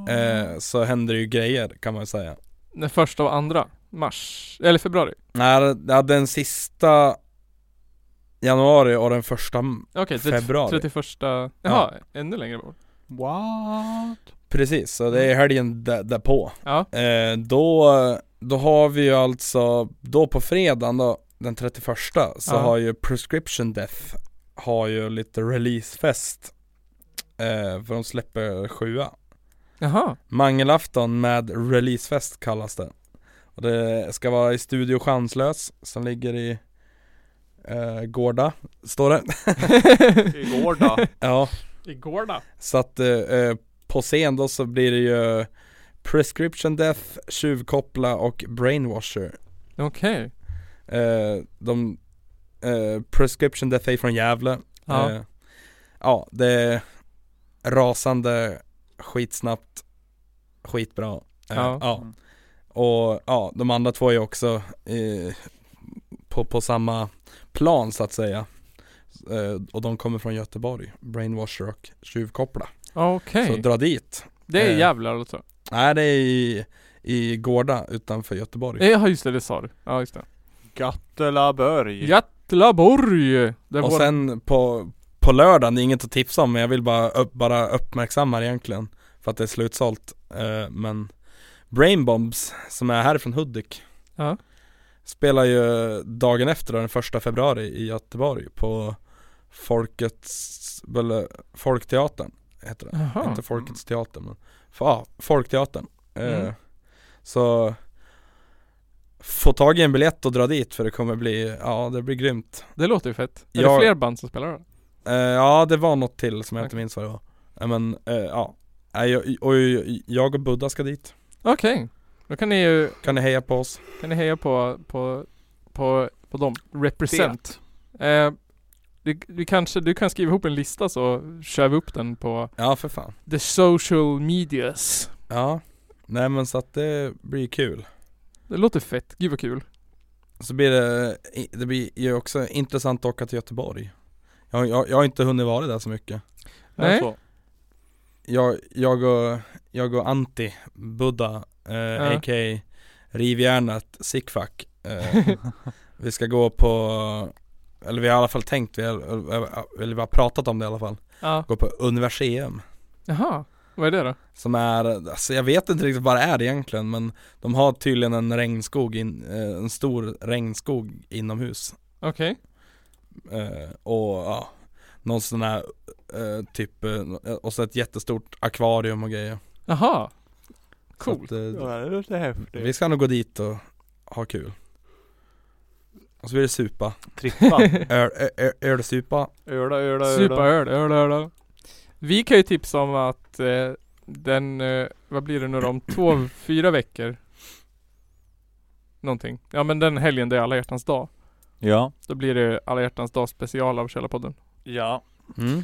Mm.
eh, Så händer det ju grejer kan man ju säga
Den första och andra mars, eller februari.
Nej, ja, den sista januari och den första m-
Okej, okay,
februari
31... Jaha, ännu längre bort.
What?
Precis, så det är helgen där- därpå.
Mm. Ja.
Eh, då, då har vi ju alltså, då på fredagen då, den 31 så
Ja.
har ju Prescription Death har ju lite releasefest. Eh, för de släpper sjua.
Jaha.
Mangelafton med releasefest kallas det. Och det ska vara i Studio Chanslös som ligger i eh, Gårda, står det.
I Gårda.
ja.
I Gårda.
Så att eh, eh, på scen då så blir det ju eh, Prescription Death, Tjuvkoppla och Brainwasher
Okej.
eh, De eh, Prescription Death är från Gävle
Ja.
eh, ja det är rasande skitsnabbt skitbra eh,
Ja.
ja. Och ja, de andra två är också eh, på, på samma plan så att säga. Eh, och de kommer från Göteborg, Brainwasher och Tjuvkoppla.
Okej.
Så dra dit.
Det är
Eh,
jävlar alltså.
Nej det är i, i Gårda utanför Göteborg.
Eh, Ja just det, det sa du. Ja just det.
Gattelaborg.
Gattlaborg! Det
och
var-
sen på, på lördagen, det är inget att tipsa om men jag vill bara, upp, bara uppmärksamma det egentligen För att det är slutsålt Eh, Men Brainbombs, som är härifrån Hudik
Ja.
Spelar ju dagen efter då, den första februari i Göteborg på Folkets, eller Folkteatern heter det
Jaha.
Inte Folkets teater men, ja, ah, Folkteatern Eh,
Mm.
Så Få tag i en biljett och dra dit för det kommer bli, ja det blir grymt
Det låter ju fett. Är
Jag-
det fler band som spelar då?
Eh, ja det var något till som jag inte
Okej.
minns vad det var Nej, Men eh, ja, Nej, jag, och jag och Buddha ska dit
Okej. Då kan ni ju
Kan ni heja på oss?
Kan ni heja på, på, på, på dem? Represent. Eh, du, du, kanske, du kan skriva ihop en lista så kör vi upp den på
Ja för fan
the social medias.
Ja, nej men så att det blir kul
Det låter fett, gud vad kul.
Så blir det, det blir ju också intressant att åka till Göteborg Jag, jag, jag har inte hunnit vara där så mycket
Nej.
jag, jag, och, jag och Anti, Buddha, eh,
Ja.
a.k.a. Rivjärnet, Sickfack eh, Vi ska gå på, eller vi har i alla fall tänkt, vi har, eller vi har pratat om det i alla fall
Ja.
Gå på Universium
Jaha, vad är det då?
Som är, alltså jag vet inte riktigt vad det är egentligen men De har tydligen en regnskog, in, eh, en stor regnskog inomhus
Okej.
Eh, och ja, någon sån här eh, typ, eh, och så ett jättestort akvarium och grejer
Jaha.
Så att,
Coolt.
eh,
Ja, det låter häftigt.
vi ska nog gå dit och ha kul Och så blir det supa
Trippa.
Öl- ö- ö- Ölsupa
Öla, öla, öla.
Superöl, öl, öl, öl. Vi kan ju tipsa om att eh, den, eh, vad blir det nu då? om två, fyra veckor? Någonting. Ja men den helgen det är alla hjärtans dag.
Ja.
Då blir det alla hjärtans dag special av Källarpodden.
Ja.
Mm.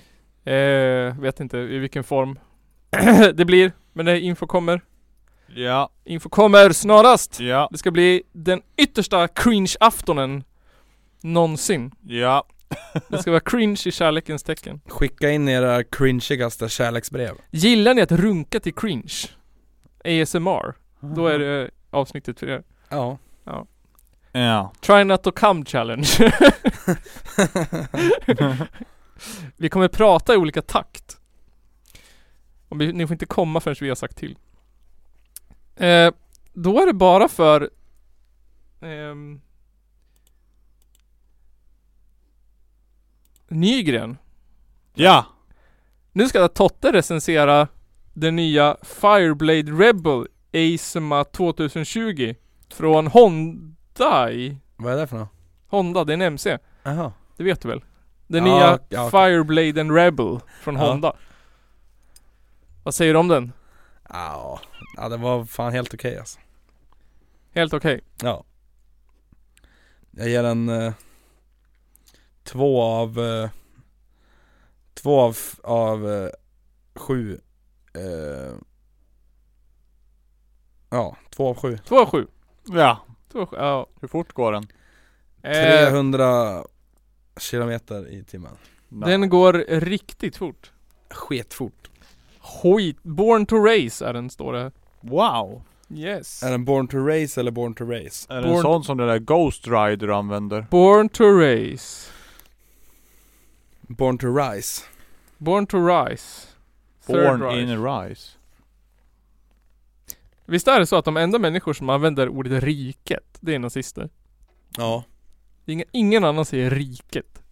Eh, vet inte i vilken form det blir, men det info kommer.
Ja.
Info kommer snarast!
Ja.
Det ska bli den yttersta cringe-aftonen någonsin.
Ja.
Det ska vara cringe i kärlekens tecken.
Skicka in era cringigaste kärleksbrev
Gillar ni att runka till cringe? ASMR? Då är det avsnittet för er.
Ja
Ja.
Ja.
Try not to come challenge. vi kommer prata i olika takt. Och vi, ni får inte komma förrän vi har sagt till. Eh, då är det bara för ehm, Nygren.
Ja.
Nu ska Totte recensera den nya Fireblade Rebel ASMA 2020 från Hyundai.
Vad är det för något?
Honda, det är en MC.
Jaha
Det vet du väl? Den
Ja,
nya
ja, okej.
Fireblade and Rebel från
Ja.
Honda. Vad säger du om den?
Ja, ja det var fan helt okej alltså
Helt okej.
Ja Jag ger en eh, två av eh, två av, av eh, sju eh, Ja, två av sju
2 av 7.
Ja.
2 av 7, ja.
Hur fort går den?
Eh,
300 kilometer i timmen
den går riktigt fort.
Sketfort
Skit. Born to Race är den står det.
Wow.
Yes.
Är den Born to Race eller Born to Race?
Är det en
Born-
sån som den där Ghost Rider använder?
Born to Race.
Born to Rise
Born to Rise. Third
Born
Rise.
in Rise.
Visst är det så att de enda människor som använder ordet riket, det är nazister?
Ja
Ingen, ingen annan säger riket.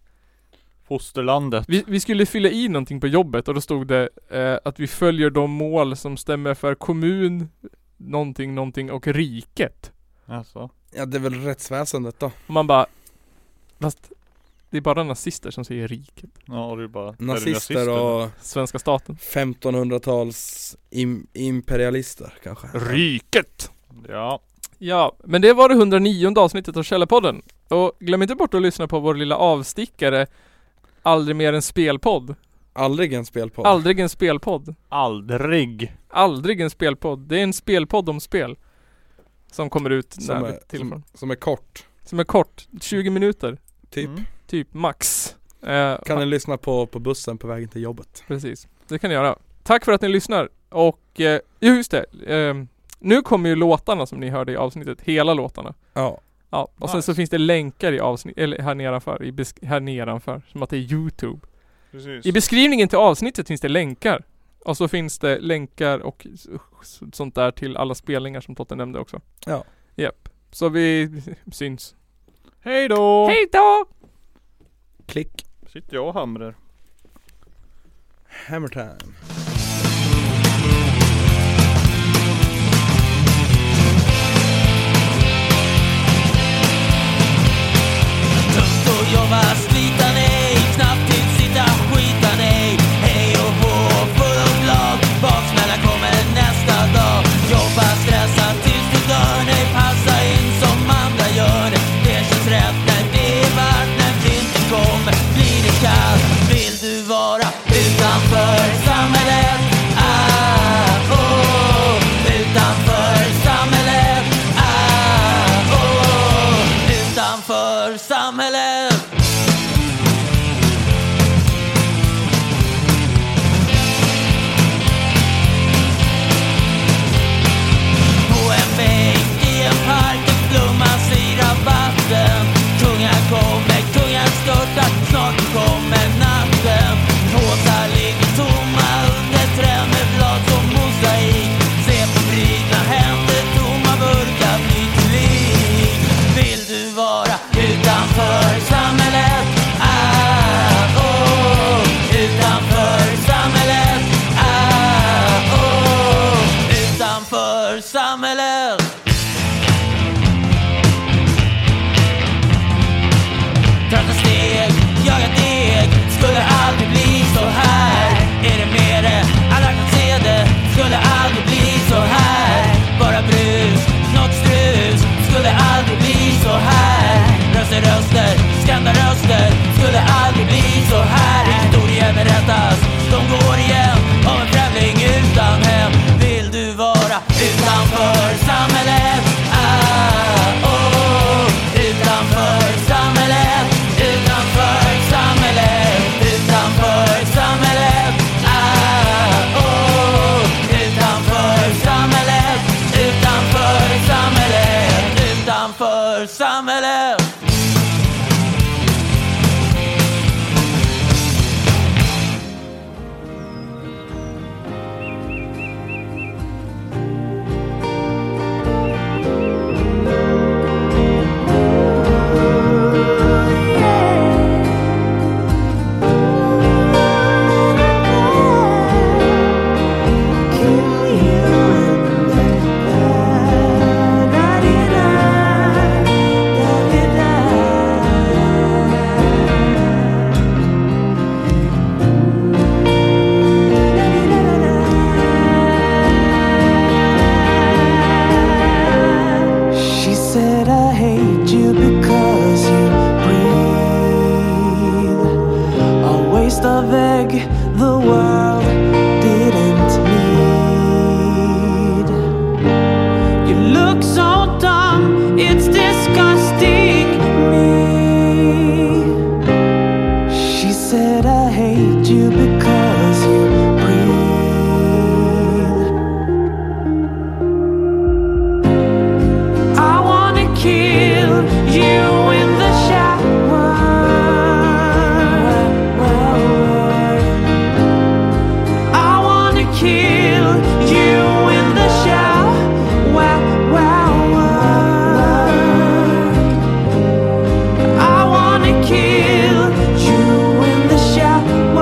Fosterlandet.
Vi, vi skulle fylla i någonting på jobbet och då stod det eh, att vi följer de mål som stämmer för kommun, någonting, någonting och riket.
Alltså.
Ja det är väl rättsväsendet då
Och man bara, fast det är bara nazister som säger riket.
Ja, och det är bara... är det
Nazister och
Svenska staten.
1500-tals im- imperialister kanske
Riket!
Ja.
Ja, men det var det 109 avsnittet av Källarpodden. Och glöm inte bort att lyssna på vår lilla avstickare Aldrig mer en spelpodd.
Aldrig en spelpodd
Aldrig en spelpodd.
Aldrig.
Aldrig en spelpodd. Det är en spelpodd om spel. Som kommer ut när
Som
vi-
är-
till och från.
Som är kort.
Som är kort, 20 minuter.
Typ.
Mm.
Typ max. Eh,
Kan ni lyssna på, på bussen på vägen till jobbet.
Precis, det kan ni göra. Tack för att ni lyssnar. Och, eh, jo, just det. Ehm, nu kommer ju låtarna som ni hörde i avsnittet, hela låtarna.
Ja.
Ja, och sen så finns det länkar i avsnitt, eller här nedanför, i besk- här nedanför, som att det är Youtube.
Precis.
I beskrivningen till avsnittet finns det länkar. Och så finns det länkar och s- s- sånt där till alla spelningar som Totte nämnde också.
Ja.
Japp. Så vi syns.
Hej då!
Hej då!
Klick.
Sitter jag och hamrar.
Hammer time.
Tungt att jobba, slita nej, knappt tid sitta, skita nej. Hej och hå, full och glad, baksmällan kommer nästa dag. Jobba, stressa tills du dör, nej passa in som andra gör det. Det känns rätt när det är vart, när vintern kommer blir det kallt. Vill du vara utanför samhället? Ah, oh. Utanför samhället? Ah, oh. Utanför samhället På en bänk i en park en blommas i rabatten Kungar kommer, kungar störtar, snart kommer natten Påsar ligger tomma under träd med blad som mosaik Se på brydna händer, tomma burkar blir till lik Vill du vara utanför samhället? Ah, oh, utanför samhället? Ah, oh, utanför samhället Trötta steg, jaga deg Skulle aldrig bli så här Är det med det? Alla kan se det Skulle aldrig bli så här Bara brus, något strus Skulle aldrig bli så här Röster, röster, skända röster Skulle aldrig bli så här Historier berättas, de går igen Om en främling utan hem Vill du vara utanför samhället? Ah, oh, utanför samhället Utanför samhället Utanför samhället Ah, oh, utanför samhället Utanför samhället Utanför samhället
She said, I hate you because you breathe a waste of egg the world didn't need. You look so dumb, it's disgusting me. She said, I hate you because you breathe. I wanna kill you in the shower. I wanna kill you in the shower. I wanna kill you in the shower.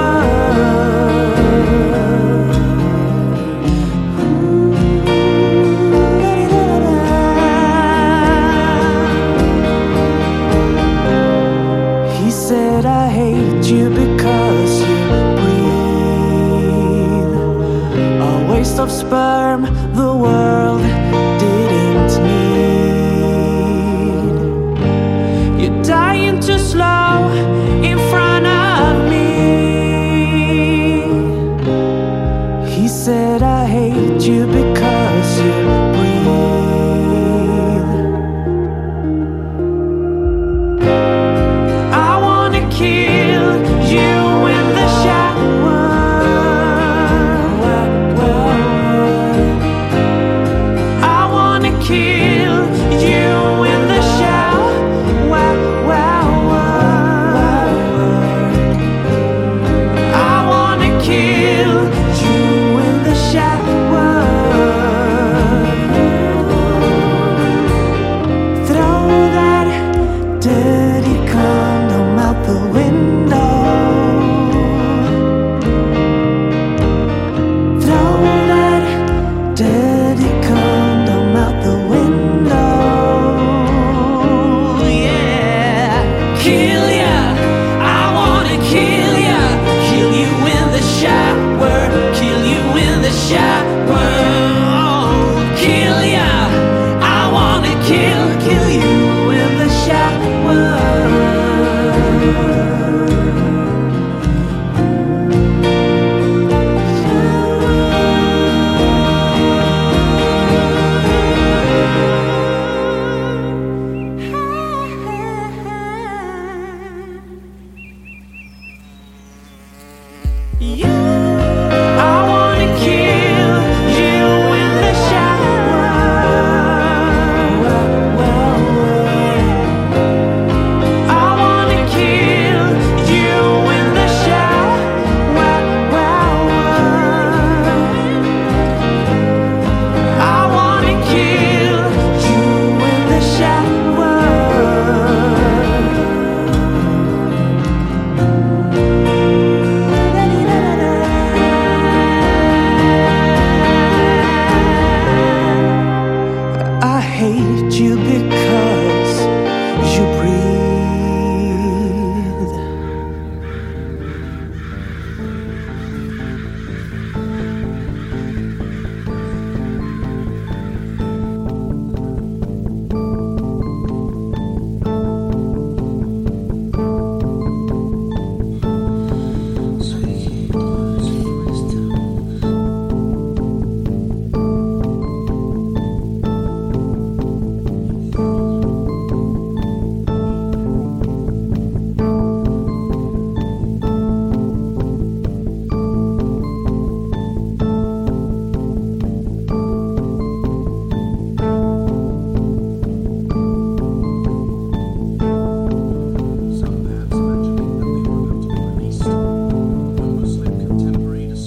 I wanna kill you in the shower. I wanna kill you in the shower. I wanna kill you in the shower. I hate you because you breathe.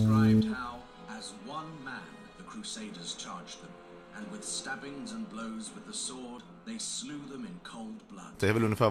As one man, the Crusaders charged them, and with stabbings and blows with the sword, they slew them in cold blood.
Det är väl ungefär